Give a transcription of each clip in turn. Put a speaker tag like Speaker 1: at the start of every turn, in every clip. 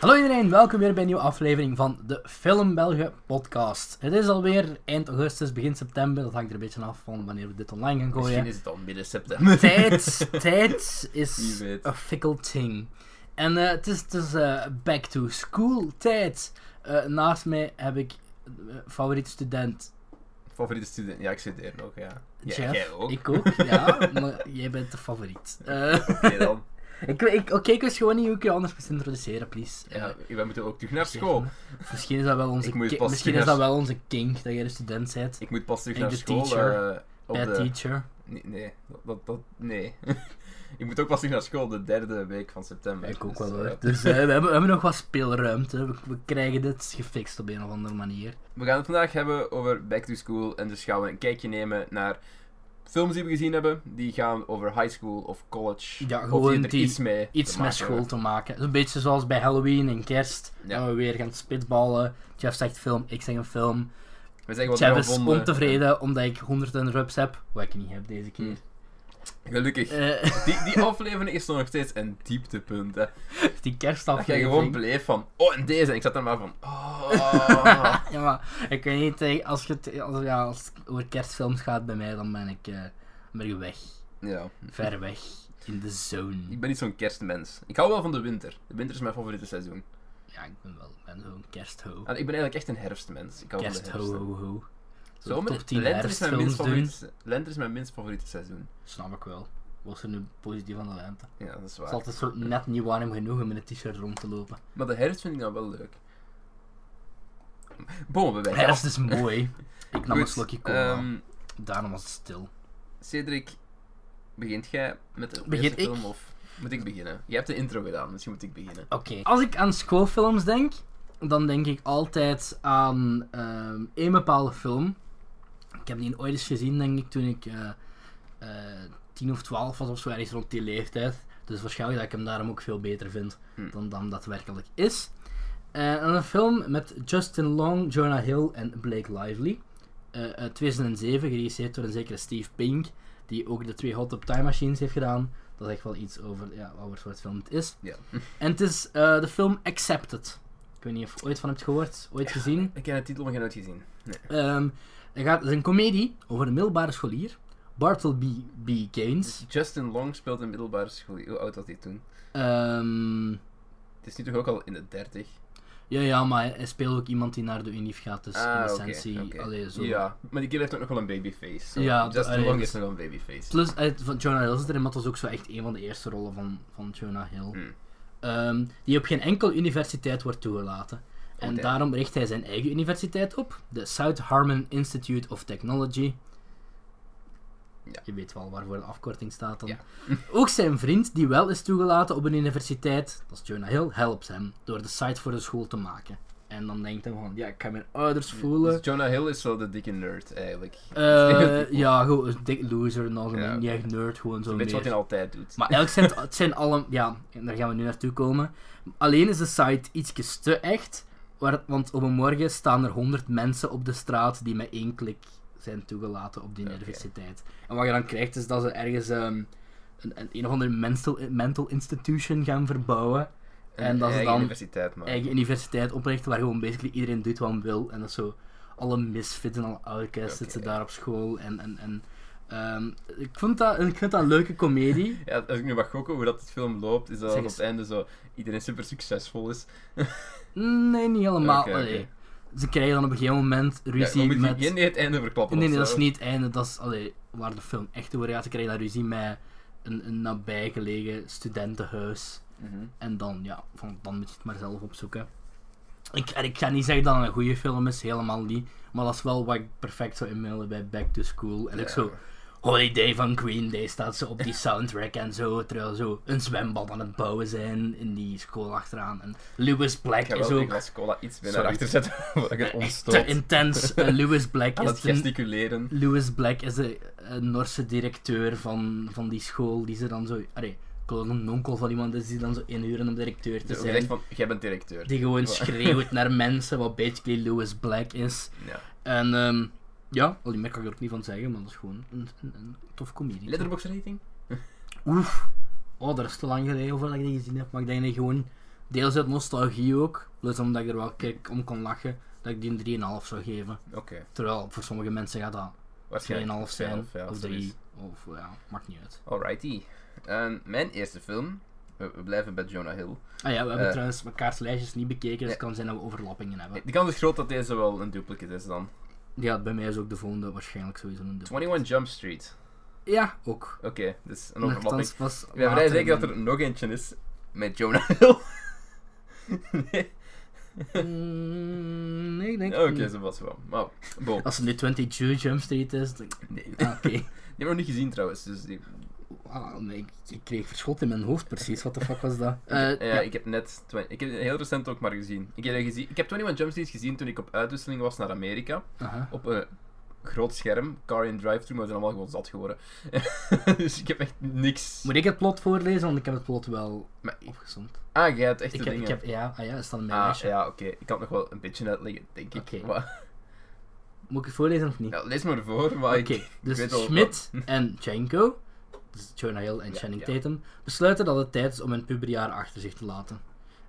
Speaker 1: Hallo iedereen, welkom weer bij een nieuwe aflevering van de Film Belgen podcast. Het is alweer eind augustus, begin september. Dat hangt er een beetje af van wanneer we dit online gaan gooien.
Speaker 2: Misschien is het al midden september.
Speaker 1: Tijd, tijd is
Speaker 2: Wie weet.
Speaker 1: a fickle thing. En eh, het is, het is eh, back to school tijd. Eh, naast mij heb ik eh, favoriete student
Speaker 2: Favoriete student? Ja, ik studeer nog, ja. Ja,
Speaker 1: Jeff.
Speaker 2: jij ook.
Speaker 1: Ik ook, ja. maar jij bent de favoriet. Eh,
Speaker 2: Oké dan.
Speaker 1: ik, ik, Oké, ik wist gewoon niet hoe ik je anders moest introduceren, please. Eh,
Speaker 2: Ja, wij moeten ook terug naar school.
Speaker 1: Misschien is dat wel onze,
Speaker 2: Ik moet
Speaker 1: ki-
Speaker 2: pas
Speaker 1: misschien is
Speaker 2: terug
Speaker 1: dat
Speaker 2: naar-
Speaker 1: wel onze kink, dat jij de student bent.
Speaker 2: Ik moet pas terug
Speaker 1: En
Speaker 2: naar
Speaker 1: de
Speaker 2: school.
Speaker 1: teacher.
Speaker 2: eh, op
Speaker 1: Bad
Speaker 2: de...
Speaker 1: teacher.
Speaker 2: Nee, nee. Dat, dat, nee. ik moet ook pas terug naar school de derde week van september.
Speaker 1: Ik ook
Speaker 2: Dus,
Speaker 1: wel
Speaker 2: eh,
Speaker 1: hoor. Dus eh, we, hebben, we hebben nog wat speelruimte. We, we krijgen dit gefixt op een of andere manier.
Speaker 2: We gaan het vandaag hebben over back to school. En dus gaan we een kijkje nemen naar films die we gezien hebben. Die gaan over high school of college.
Speaker 1: Ja,
Speaker 2: Of
Speaker 1: gewoon
Speaker 2: die er
Speaker 1: die-
Speaker 2: iets mee te
Speaker 1: Iets met
Speaker 2: maken
Speaker 1: school
Speaker 2: hebben.
Speaker 1: te maken. Een beetje zoals bij Halloween en kerst.
Speaker 2: Ja.
Speaker 1: Dat we weer gaan spitballen. Jeff zegt film, ik zeg een film.
Speaker 2: We zeggen wat
Speaker 1: Jeff
Speaker 2: we
Speaker 1: is
Speaker 2: vonden.
Speaker 1: ontevreden omdat ik honderden rups heb. Wat ik niet heb deze keer.
Speaker 2: Gelukkig.
Speaker 1: Eh,
Speaker 2: Hm. Die, die aflevering is nog steeds een dieptepunt. Hè.
Speaker 1: die
Speaker 2: Dat jij
Speaker 1: kerstaflevering.
Speaker 2: gewoon bleef van, oh en deze. En ik zat daar maar van, oh.
Speaker 1: Ja, maar ik weet niet, eh, als je het als, ja, als het over kerstfilms gaat bij mij, dan ben ik, eh, ben ik weg.
Speaker 2: ja,
Speaker 1: Ver weg. In de
Speaker 2: ik
Speaker 1: zone.
Speaker 2: ben niet zo'n kerstmens. Ik hou wel van de winter. De winter is mijn favoriete seizoen.
Speaker 1: Ja, ik ben wel ben zo'n kerstho.
Speaker 2: En ik ben eigenlijk echt een herfstmens. Ik hou van de herfst.
Speaker 1: Kerstho, ho, ho. Zo'n
Speaker 2: Zomer,
Speaker 1: top 10
Speaker 2: lente, is mijn minst
Speaker 1: herfstfilms doen.
Speaker 2: favoriete, se- lente is mijn minst favoriete seizoen.
Speaker 1: Snap ik wel. Was er nu positief aan de lente?
Speaker 2: Ja, dat is
Speaker 1: Het
Speaker 2: waar.
Speaker 1: is altijd zo net niet warm genoeg om in een t-shirt rond te lopen.
Speaker 2: Maar de herfst vind ik dan wel leuk. Bomen we weg.
Speaker 1: Herfst is mooi. Ik nam een
Speaker 2: Goed,
Speaker 1: slokje cola.
Speaker 2: ehm,
Speaker 1: Daarom was het stil.
Speaker 2: Cedric, begint jij met de
Speaker 1: Begin
Speaker 2: eerste
Speaker 1: ik?
Speaker 2: film of moet ik beginnen? Jij hebt de intro gedaan, misschien moet ik beginnen.
Speaker 1: Oké. Als ik aan schoolfilms denk, dan denk ik altijd aan ehm één bepaalde film. Ik heb die ooit eens gezien, denk ik, toen ik eh eh, 10 of 12 was of zo, ergens rond die leeftijd. Dus waarschijnlijk dat ik hem daarom ook veel beter vind
Speaker 2: Hm.
Speaker 1: dan, dan dat werkelijk is. Eh, en een film met Justin Long, Jonah Hill en Blake Lively. Eh, uit 2007, geregisseerd door een zekere Steve Pink, die ook de twee Hot Top Time Machines heeft gedaan. Dat is echt wel iets over ja, wat voor soort film het is.
Speaker 2: Ja.
Speaker 1: En het is eh, de film Accepted. Ik weet niet of je ooit van hebt gehoord, ooit gezien.
Speaker 2: Ik heb de titel nog nooit gezien. Nee.
Speaker 1: Ehm, het, gaat, het is een komedie over een middelbare scholier, Bartleby B. Gaines.
Speaker 2: Justin Long speelt in middelbare school. Hoe oud was hij toen?
Speaker 1: Ehm,
Speaker 2: Het is nu toch ook al in de 30.
Speaker 1: ja, ja, maar hij- hij speelt ook iemand die naar de unief gaat, dus in
Speaker 2: Ah, oké,
Speaker 1: essentie...
Speaker 2: oké.
Speaker 1: allee, zo.
Speaker 2: Ja, maar die kerel heeft ook nog wel een babyface. zo.
Speaker 1: Ja,
Speaker 2: Justin
Speaker 1: allee,
Speaker 2: Long
Speaker 1: dus-
Speaker 2: is nog wel een babyface.
Speaker 1: Plus, eh, van Jonah Hill zit erin, maar het was ook zo echt een van de eerste rollen van, van Jonah Hill.
Speaker 2: Hmm.
Speaker 1: Ehm, die op geen enkele universiteit wordt toegelaten. En
Speaker 2: Oké.
Speaker 1: daarom richt hij zijn eigen universiteit op, de South Harmon Institute of Technology.
Speaker 2: Ja.
Speaker 1: Je weet wel waarvoor de afkorting staat dan.
Speaker 2: Ja.
Speaker 1: Ook zijn vriend, die wel is toegelaten op een universiteit, dat is Jonah Hill, helpt hem door de site voor de school te maken. En dan denkt hij van, ja, ik ga mijn ouders voelen.
Speaker 2: Dus Jonah Hill is zo de dikke nerd eigenlijk.
Speaker 1: Eh, ja, gewoon een dik loser en al,
Speaker 2: Ja.
Speaker 1: niet echt nerd, gewoon zo
Speaker 2: Weet je wat hij
Speaker 1: meer.
Speaker 2: altijd doet?
Speaker 1: Maar elk zijn, het zijn alle... Ja, en daar gaan we nu naartoe komen. Alleen is de site ietsjes te echt. waar- want op een morgen staan er 100 mensen op de straat die met één klik zijn toegelaten op die
Speaker 2: Oké.
Speaker 1: universiteit. En wat je dan krijgt is dat ze ergens ehm, een, een, een of andere mental, mental institution gaan verbouwen. en
Speaker 2: Een
Speaker 1: dat ze
Speaker 2: eigen
Speaker 1: dan
Speaker 2: universiteit maken.
Speaker 1: Eigen universiteit oprichten waar gewoon basically iedereen doet wat hem wil. En dat is zo... Alle misfits en alle outcasts zitten
Speaker 2: Oké.
Speaker 1: daar op school. En... en, en ehm, ik, vond dat, ik vind dat een leuke comedie.
Speaker 2: Ja, als ik nu mag gokken hoe dat het film loopt, is dat
Speaker 1: Zeg
Speaker 2: op
Speaker 1: eens.
Speaker 2: het einde zo iedereen super succesvol is.
Speaker 1: Nee, niet helemaal.
Speaker 2: Oké, oké.
Speaker 1: Allee, Ze krijgen dan op een gegeven moment
Speaker 2: Ja,
Speaker 1: ruzie
Speaker 2: we moeten
Speaker 1: met...
Speaker 2: geen niet het einde verklappen.
Speaker 1: nee, nee,
Speaker 2: of
Speaker 1: dat is
Speaker 2: zo.
Speaker 1: niet het einde. Dat is allee, waar de film echt over gaat. Ze krijgen dan ruzie met een, een nabijgelegen studentenhuis.
Speaker 2: Mhm.
Speaker 1: En dan, ja, van, dan moet je het maar zelf opzoeken. Ik, en ik ga niet zeggen dat het een goede film is, helemaal niet. Maar dat is wel wat ik perfect zou inmiddelen bij Back to School. En ik
Speaker 2: Ja.
Speaker 1: zo... Holiday van Green Day staat ze op die soundtrack en zo. Terwijl zo een zwembad aan het bouwen zijn in die school achteraan. En Lewis Black
Speaker 2: Ik ga
Speaker 1: is
Speaker 2: wel
Speaker 1: ook
Speaker 2: ik was cola iets meer
Speaker 1: Sorry.
Speaker 2: naar achter zetten, voordat ik het
Speaker 1: Echt
Speaker 2: ontstoot.
Speaker 1: te intens. Eh, Lewis Black
Speaker 2: Aan het
Speaker 1: is de,
Speaker 2: gesticuleren.
Speaker 1: Lewis Black is de eh, Noorse directeur van, van die school die ze dan zo... Allee, ik geloof dat een onkel van iemand is die dan zo inhuren om directeur te
Speaker 2: Dus je zegt
Speaker 1: zijn.
Speaker 2: van, jij bent directeur.
Speaker 1: Die gewoon schreeuwt naar mensen, wat basically Lewis Black is.
Speaker 2: Ja.
Speaker 1: En ehm, ja, al die merk kan ik er ook niet van zeggen, maar dat is gewoon een, een, een tof comedie.
Speaker 2: Letterbox rating?
Speaker 1: Oef. Oh, dat is te lang geleden over dat ik die gezien heb, maar ik denk dat ik gewoon Deels uit nostalgie ook. Plus omdat ik er wel kerk om kon lachen. Dat ik die een 3,5 zou geven.
Speaker 2: Oké.
Speaker 1: Terwijl voor sommige mensen gaat dat 2,5 zijn.
Speaker 2: 2,5, ja,
Speaker 1: of
Speaker 2: zoiets.
Speaker 1: 3. Of ja, maakt niet uit.
Speaker 2: Alrighty. En mijn eerste film. We, we blijven bij Jonah Hill.
Speaker 1: Ah ja, we hebben
Speaker 2: Eh.
Speaker 1: trouwens mekaars lijstjes niet bekeken. Dus
Speaker 2: Ja.
Speaker 1: het kan zijn dat we overlappingen hebben.
Speaker 2: De kans is groot dat deze wel een duplicate is dan.
Speaker 1: Ja, bij mij is ook de volgende waarschijnlijk sowieso een dubbel.
Speaker 2: 21 Jump Street.
Speaker 1: Ja, ook.
Speaker 2: Oké, dus een overlapping.
Speaker 1: Nochtans pas
Speaker 2: Ik ben vrij
Speaker 1: later
Speaker 2: zeker
Speaker 1: in
Speaker 2: dat er nog eentje is met Jonah Hill. nee.
Speaker 1: Mm, nee, ik denk
Speaker 2: Oké,
Speaker 1: ik niet. Oh.
Speaker 2: zo was het wel. Maar, bon.
Speaker 1: Als het nu 22 Jump Street is, dan...
Speaker 2: Nee. Die
Speaker 1: Ah, oké.
Speaker 2: hebben we nog niet gezien trouwens. Dus die-
Speaker 1: Ah, nee, ik, ik kreeg verschot in mijn hoofd precies, wat de fuck was dat? Eh,
Speaker 2: ja, ik heb net... twen- Ik heb het heel recent ook maar gezien. Ik heb, dat gezien. ik heb 21 Jump Street gezien toen ik op uitwisseling was naar Amerika.
Speaker 1: aha.
Speaker 2: Op een groot scherm. Car in drive-thru, maar we zijn allemaal gewoon zat geworden. dus ik heb echt niks...
Speaker 1: Moet ik het plot voorlezen? Want ik heb het plot wel
Speaker 2: Maar-
Speaker 1: opgezond.
Speaker 2: Ah, jij hebt echt
Speaker 1: Ik
Speaker 2: de
Speaker 1: heb,
Speaker 2: dingen.
Speaker 1: ik heb, ja, ah ja, is dat in mijn
Speaker 2: Ah,
Speaker 1: lijstje?
Speaker 2: ja, oké. Ik kan het nog wel een beetje uitleggen, denk ik.
Speaker 1: Oké.
Speaker 2: Maar-
Speaker 1: Moet ik het voorlezen of niet?
Speaker 2: ja, lees maar voor, maar
Speaker 1: Oké,
Speaker 2: ik... weet
Speaker 1: dus
Speaker 2: al-
Speaker 1: Schmidt en Janko, dus Jonah Hill en
Speaker 2: Ja,
Speaker 1: Channing
Speaker 2: ja.
Speaker 1: Tatum, besluiten dat het tijd is om hun puberjaar achter zich te laten.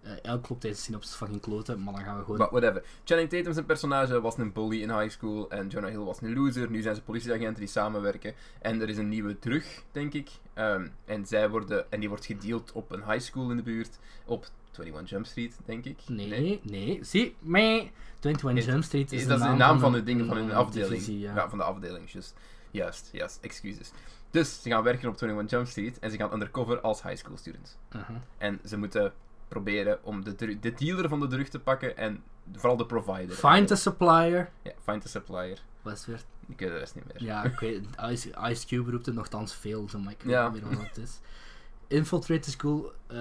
Speaker 1: Eh elk klopt deze synopsis fucking kloten, maar dan gaan we gewoon...
Speaker 2: Maar whatever. Channing Tatum zijn personage was een bully in high school en Jonah Hill was een loser. Nu zijn ze politieagenten die samenwerken en er is een nieuwe terug, denk ik. Ehm, en, zij worden, en die wordt gedeeld op een high school in de buurt, op 21 Jump Street, denk ik.
Speaker 1: Nee, nee, zie, mee. 21
Speaker 2: Is-
Speaker 1: Jump Street is,
Speaker 2: Is, dat is de naam van de dingen van
Speaker 1: een-
Speaker 2: hun
Speaker 1: een
Speaker 2: afdeling.
Speaker 1: divisie,
Speaker 2: ja.
Speaker 1: ja.
Speaker 2: van de afdeling, juist. Juist, juist, excuses. Dus ze gaan werken op 21 Jump Street en ze gaan undercover als high school student.
Speaker 1: Aha.
Speaker 2: En ze moeten proberen om de, dru- de dealer van de drug te pakken en vooral de provider.
Speaker 1: Find a supplier.
Speaker 2: Ja, find the supplier.
Speaker 1: Westward.
Speaker 2: Ik weet de rest niet meer.
Speaker 1: Ja, ik weet, Ice, Ice Cube roept het nogthans veel, zo, maar ik weet
Speaker 2: Ja.
Speaker 1: niet meer wat het is. Infiltrate the school, eh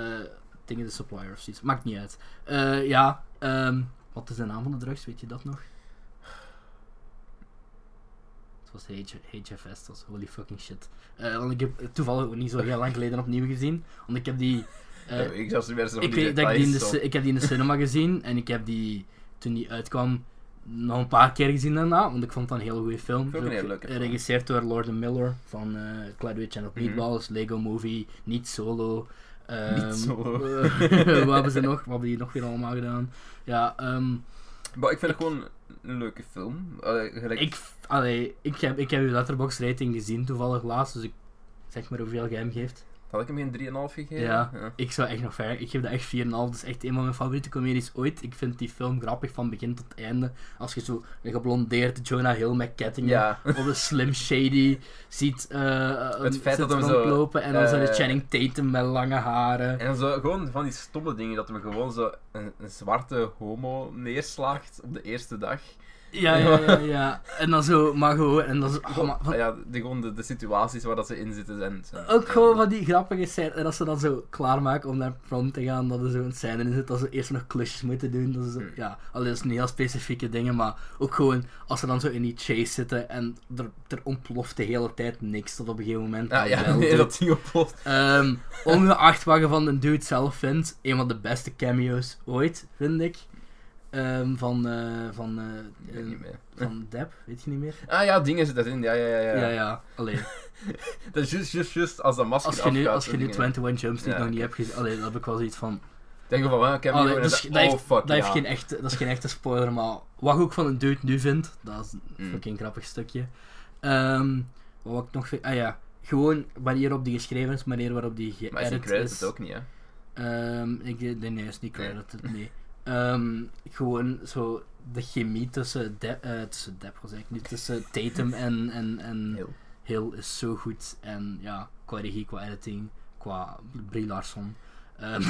Speaker 1: dingen de supplier of zoiets. Maakt niet uit. Eh, ja, ehm, wat is de naam van de drugs, weet je dat nog? Het was H- HFS, dat was holy fucking shit. Eh, want ik heb het toevallig ook niet zo heel lang geleden opnieuw gezien. Want ik heb die... eh,
Speaker 2: Ja, ik zelfs niet meer zo van
Speaker 1: ik
Speaker 2: die
Speaker 1: weet dat ik, die dus, eh, in de,
Speaker 2: details,
Speaker 1: ci-
Speaker 2: zo.
Speaker 1: ik heb die in de cinema gezien en ik heb die toen die uitkwam nog een paar keer gezien daarna, want ik vond dat een hele goede film.
Speaker 2: Ik vond het een hele leuke film. Mhm.
Speaker 1: Geregisseerd door Lorden Miller van eh Cloud Witch and of Meatballs, Lego Movie, Niet Solo. ehm,
Speaker 2: Niet Solo.
Speaker 1: eh, wat hebben ze nog? Wat hebben die nog weer allemaal gedaan? Ja, ehm,
Speaker 2: Maar ik vind het gewoon een leuke film. Allee, gelijk-
Speaker 1: ik, allee, ik heb, ik heb uw letterbox rating gezien toevallig laatst, dus ik zeg maar hoeveel jij hem geeft.
Speaker 2: Had ik hem geen 3,5 gegeven?
Speaker 1: Ja, ik zou echt nog ver. Ik geef dat echt 4,5. Dat is echt een van mijn favoriete comedies ooit. Ik vind die film grappig van begin tot einde. Als je zo een geblondeerde Jonah Hill met kettingen
Speaker 2: Ja.
Speaker 1: of een Slim Shady ziet eh, eh,
Speaker 2: Het feit
Speaker 1: zit
Speaker 2: dat hem zo,
Speaker 1: rondlopen en dan zijn de
Speaker 2: eh,
Speaker 1: Channing Tatum met lange haren.
Speaker 2: En zo, gewoon van die stomme dingen, dat hem gewoon zo een, een zwarte homo neerslaagt op de eerste dag.
Speaker 1: Ja, ja, ja, ja. En dan zo, maar gewoon, en dan zo, oh, maar van-
Speaker 2: ja, de, gewoon de, de situaties waar dat ze in zitten zijn. zijn-
Speaker 1: Ook gewoon van die grappige scènes. En als ze dan zo klaarmaken om naar prom te gaan, dat er zo'n scène in zit dat ze eerst nog klusjes moeten doen. Dat is zo,
Speaker 2: Hmm.
Speaker 1: ja, alleen dat is niet heel specifieke dingen, maar ook gewoon als ze dan zo in die chase zitten en er, er ontploft de hele tijd niks tot op een gegeven moment.
Speaker 2: Ja,
Speaker 1: dat
Speaker 2: Ah, ja,
Speaker 1: wel
Speaker 2: nee,
Speaker 1: doet.
Speaker 2: dat ding oplost.
Speaker 1: Ehm, ongeacht wat je van de dude zelf vindt, een van de beste cameo's ooit, vind ik. Ehm, van, eh, van,
Speaker 2: Ik
Speaker 1: eh,
Speaker 2: weet
Speaker 1: eh,
Speaker 2: niet meer.
Speaker 1: van Deb, weet je niet meer?
Speaker 2: Ah ja, dingen zitten erin, ja, ja, ja. ja.
Speaker 1: Ja, ja, alleen.
Speaker 2: Dat is juist, juist, juist als dat masker
Speaker 1: Als je nu,
Speaker 2: afgaat,
Speaker 1: als je
Speaker 2: dat
Speaker 1: nu
Speaker 2: ding erin.
Speaker 1: 21 Jump Street
Speaker 2: Ja,
Speaker 1: nog niet hebt gezien, alleen dat heb ik wel zoiets van.
Speaker 2: Denk je van, ah, ik heb
Speaker 1: Allee,
Speaker 2: hier
Speaker 1: dat, is-
Speaker 2: oh
Speaker 1: dus dat heeft,
Speaker 2: fuck,
Speaker 1: dat, heeft
Speaker 2: ja.
Speaker 1: geen echte, dat is geen echte spoiler, maar wat ik ook van een dude nu vind, dat is een
Speaker 2: Mm.
Speaker 1: fucking grappig stukje. Ehm, wat wou ik nog vind, ah ja, gewoon manier waarop die geschreven is, manier waarop die
Speaker 2: Maar is die
Speaker 1: geëdit
Speaker 2: credit
Speaker 1: is.
Speaker 2: het ook niet, hè?
Speaker 1: Ehm, ik, nee, nee, is niet
Speaker 2: Nee.
Speaker 1: credited, nee. Ehm, gewoon zo de chemie tussen Depp, eh tussen Depp was eigenlijk niet, tussen Tatum en, en, en
Speaker 2: Heel.
Speaker 1: Hill is zo goed. En ja, qua regie, qua editing, qua Brie Larson. Ehm,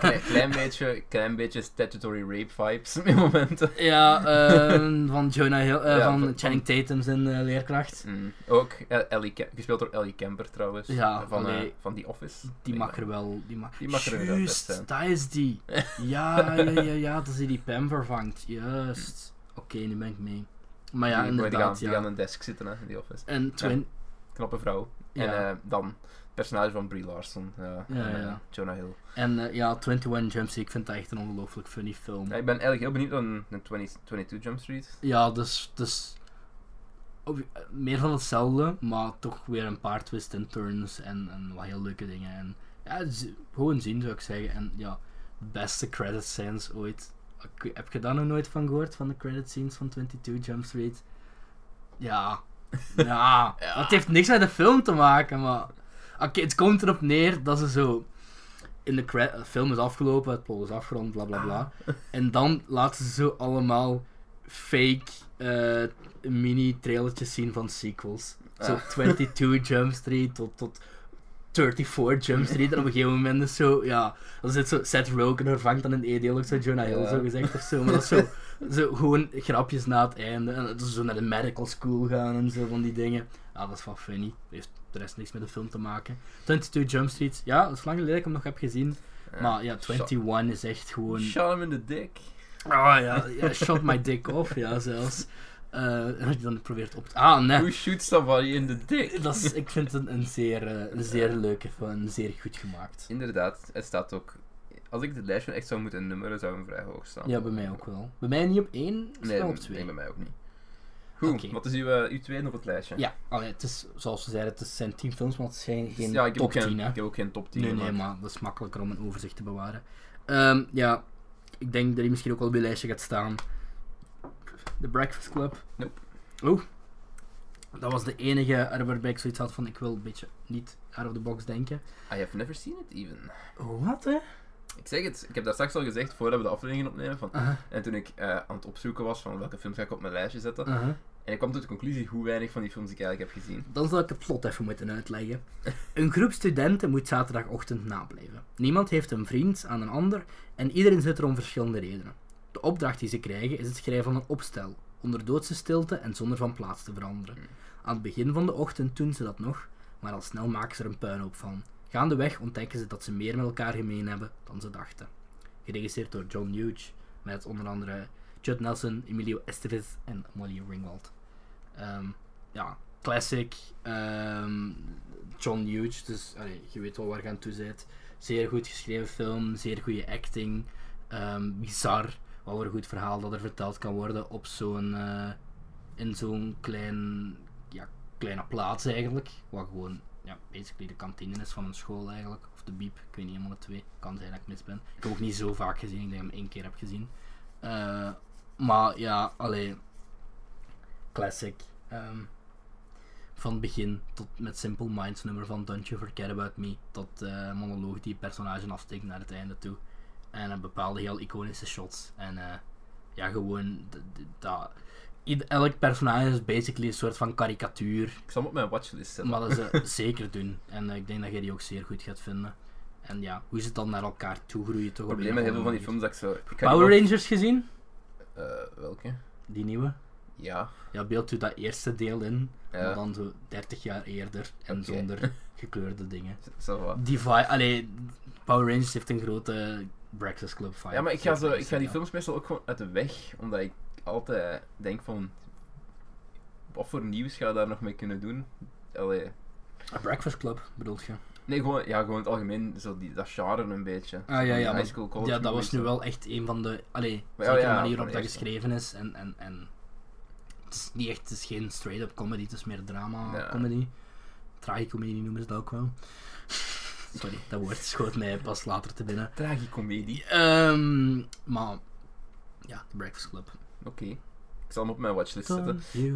Speaker 2: Klein, klein beetje, klein beetje statutory rape vibes in momenten.
Speaker 1: Ja, ehm, van Jonah Hill, eh,
Speaker 2: Ja,
Speaker 1: van,
Speaker 2: van-
Speaker 1: Channing Tatum zijn eh, leerkracht.
Speaker 2: Mm. Ook eh, Ellie, Ke- gespeeld door Ellie Kemper trouwens.
Speaker 1: Ja,
Speaker 2: van, eh,
Speaker 1: allee.
Speaker 2: van The Office.
Speaker 1: Die
Speaker 2: Ik
Speaker 1: mag
Speaker 2: denk
Speaker 1: er wel, die mag,
Speaker 2: Die mag er inderdaad
Speaker 1: Juist,
Speaker 2: best zijn.
Speaker 1: dat is die. Ja, ja, ja, ja, dat is die Pam vervangt. Juist. Oké, nu ben ik mee. Maar ja,
Speaker 2: die,
Speaker 1: inderdaad,
Speaker 2: die gaan,
Speaker 1: ja.
Speaker 2: die gaan aan een desk zitten hè, in The Office.
Speaker 1: En Twin,
Speaker 2: Knappe vrouw. En
Speaker 1: ja.
Speaker 2: eh, dan het personage van Brie Larson. eh, en,
Speaker 1: ja,
Speaker 2: eh,
Speaker 1: ja.
Speaker 2: Jonah Hill.
Speaker 1: en eh, ja, 21 Jump Street, ik vind dat echt een ongelooflijk funny film.
Speaker 2: Ja, ik ben eigenlijk heel benieuwd naar een- een 20 22 Jump Street.
Speaker 1: Ja, dus, dus op- eh, meer van hetzelfde, maar toch weer een paar twists en turns en, en wat heel leuke dingen. En, ja, z- gewoon zien zou ik zeggen. En ja, beste credit scenes ooit. Ik weet- Heb je daar nog nooit van gehoord, van de credit scenes van 22 Jump Street? Ja. Ja.
Speaker 2: Ja.
Speaker 1: Het heeft niks met de film te maken, maar... Oké, het komt erop neer dat ze zo... In de cre- de film is afgelopen, het plot is afgerond, bla bla bla. En dan laten ze zo allemaal fake eh, mini-trailertjes zien van sequels. Zo
Speaker 2: Ah.
Speaker 1: 22 Jump Street tot, tot 34 Jump Street. En op een gegeven moment is zo, ja, dan zit zo Seth Rogen vervangt dan E in één deel ook zo Jonah Hill
Speaker 2: Ja.
Speaker 1: zo gezegd of zo. Maar dat is zo, zo gewoon grapjes na het einde. En dat ze zo naar de medical school gaan en zo van die dingen. Ja, dat is wel funny. Dat heeft de rest niks met de film te maken. 22 Jump Street, ja, dat is lang geleden dat ik hem nog heb gezien. Maar ja, 21 is echt gewoon...
Speaker 2: Shot Eh, hem in de dik.
Speaker 1: Ah ja, ja, shot my dick off, ja zelfs. Eh, en dat je dan probeert op te... Ah, nee.
Speaker 2: Who shoots somebody in the dick?
Speaker 1: Dat is, ik vind het een zeer, eh, een zeer leuke film, zeer goed gemaakt.
Speaker 2: Inderdaad, het staat ook. Als ik dit lijstje echt zou moeten nummeren, zou hem vrij hoog staan.
Speaker 1: Ja, bij mij ook wel. Bij mij niet op één, maar
Speaker 2: Nee,
Speaker 1: wel op
Speaker 2: nee,
Speaker 1: twee.
Speaker 2: bij mij ook niet. Goed,
Speaker 1: Oké.
Speaker 2: wat is uw, eh, uw tweede op het lijstje?
Speaker 1: Ja, allee, het is, zoals ze zeiden, het zijn tien films, maar het zijn geen
Speaker 2: ja ik, heb
Speaker 1: top
Speaker 2: ook geen,
Speaker 1: tien. hè.
Speaker 2: ik heb ook geen top 10.
Speaker 1: Nee, nee, maar dat is makkelijker om een overzicht te bewaren. Ehm, ja, ik denk dat hij misschien ook wel op je lijstje gaat staan. The Breakfast Club.
Speaker 2: Nope.
Speaker 1: Oeh. Dat was de enige er waarbij ik zoiets had van ik wil een beetje niet out of the box denken.
Speaker 2: I have never seen it even.
Speaker 1: Wat hè?
Speaker 2: Ik zeg het, ik heb dat straks al gezegd voordat we de aflevering opnemen. Van,
Speaker 1: Aha,
Speaker 2: en toen ik eh, aan het opzoeken was van welke films ga ik op mijn lijstje zetten.
Speaker 1: aha.
Speaker 2: En ik kwam tot de conclusie hoe weinig van die films ik eigenlijk heb gezien.
Speaker 1: Dan zal ik het plot even moeten uitleggen. Een groep studenten moet zaterdagochtend nablijven. Niemand heeft een vriend aan een ander en iedereen zit er om verschillende redenen. De opdracht die ze krijgen is het schrijven van een opstel, onder doodse stilte en zonder van plaats te veranderen. Aan het begin van de ochtend doen ze dat nog, maar al snel maken ze er een puinhoop van. Gaandeweg ontdekken ze dat ze meer met elkaar gemeen hebben dan ze dachten. Geregisseerd door John Hughes, met onder andere Judd Nelson, Emilio Estevez en Molly Ringwald. Ehm, ja, classic. ehm, John Hughes, dus allee, je weet wel waar je aan toe bent. Zeer goed geschreven film, zeer goede acting. ehm, bizar, wat voor een goed verhaal dat er verteld kan worden op zo'n, eh, in zo'n klein, ja, kleine plaats eigenlijk. Wat gewoon ja, basically de kantine is van een school eigenlijk. Of de biep, ik weet niet helemaal de twee. Kan zijn dat ik mis ben. Ik heb ook niet zo vaak gezien, ik denk dat ik hem één keer heb gezien. Eh, maar ja, alleen classic. ehm, van het begin tot met Simple Minds nummer van Don't You Forget About Me tot eh monoloog die personage afsteekt naar het einde toe. En een bepaalde heel iconische shots. En eh, ja, gewoon d- d- dat. ied- Elk personage is basically een soort van karikatuur
Speaker 2: Ik zal hem op mijn watchlist zetten.
Speaker 1: maar dat ze zeker doen. En eh, ik denk dat jij die ook zeer goed gaat vinden. En ja, hoe ze het dan naar elkaar toe groeien toch?
Speaker 2: het
Speaker 1: op
Speaker 2: probleem
Speaker 1: een
Speaker 2: met heel
Speaker 1: of
Speaker 2: veel van die
Speaker 1: andere
Speaker 2: films dat ik zo... ik kan
Speaker 1: manier. Power
Speaker 2: niet
Speaker 1: Rangers gezien?
Speaker 2: wel- eh, welke?
Speaker 1: Die nieuwe.
Speaker 2: Ja.
Speaker 1: Ja, beeld u dat eerste deel in, maar
Speaker 2: Ja.
Speaker 1: dan zo 30 jaar eerder en
Speaker 2: Oké.
Speaker 1: zonder gekleurde dingen.
Speaker 2: ça va.
Speaker 1: Die vibe, allee, Power Rangers heeft een grote Breakfast Club vibe.
Speaker 2: Ja, maar ik ga, zo,
Speaker 1: Zou
Speaker 2: ik ga die
Speaker 1: zeggen.
Speaker 2: films meestal ook gewoon uit de weg. Omdat ik altijd denk van... Wat voor nieuws ga je daar nog mee kunnen doen? Allee.
Speaker 1: A Ah, Breakfast Club bedoelt je? Ah,
Speaker 2: Nee, gewoon, ja, gewoon in het algemeen. Zo die, dat genre een beetje.
Speaker 1: Ah ja,
Speaker 2: Die
Speaker 1: ja.
Speaker 2: high
Speaker 1: maar-
Speaker 2: school, college
Speaker 1: ja, dat was
Speaker 2: movies,
Speaker 1: nu
Speaker 2: zo.
Speaker 1: wel echt een van de. Allee,
Speaker 2: ja,
Speaker 1: zeker de
Speaker 2: Oh, ja,
Speaker 1: manier
Speaker 2: van
Speaker 1: waarop
Speaker 2: de
Speaker 1: dat
Speaker 2: eerste.
Speaker 1: geschreven is. En, en, en het is niet echt, het is geen straight-up comedy, het is meer
Speaker 2: Ja.
Speaker 1: drama-comedy. Tragicomedy noemen ze dat ook wel. Sorry, dat woord schoot mij pas later te binnen.
Speaker 2: Tragicomedie.
Speaker 1: Ehm, maar ja, The Breakfast Club.
Speaker 2: Oké. Ik zal hem op mijn watchlist zetten.
Speaker 1: Don't you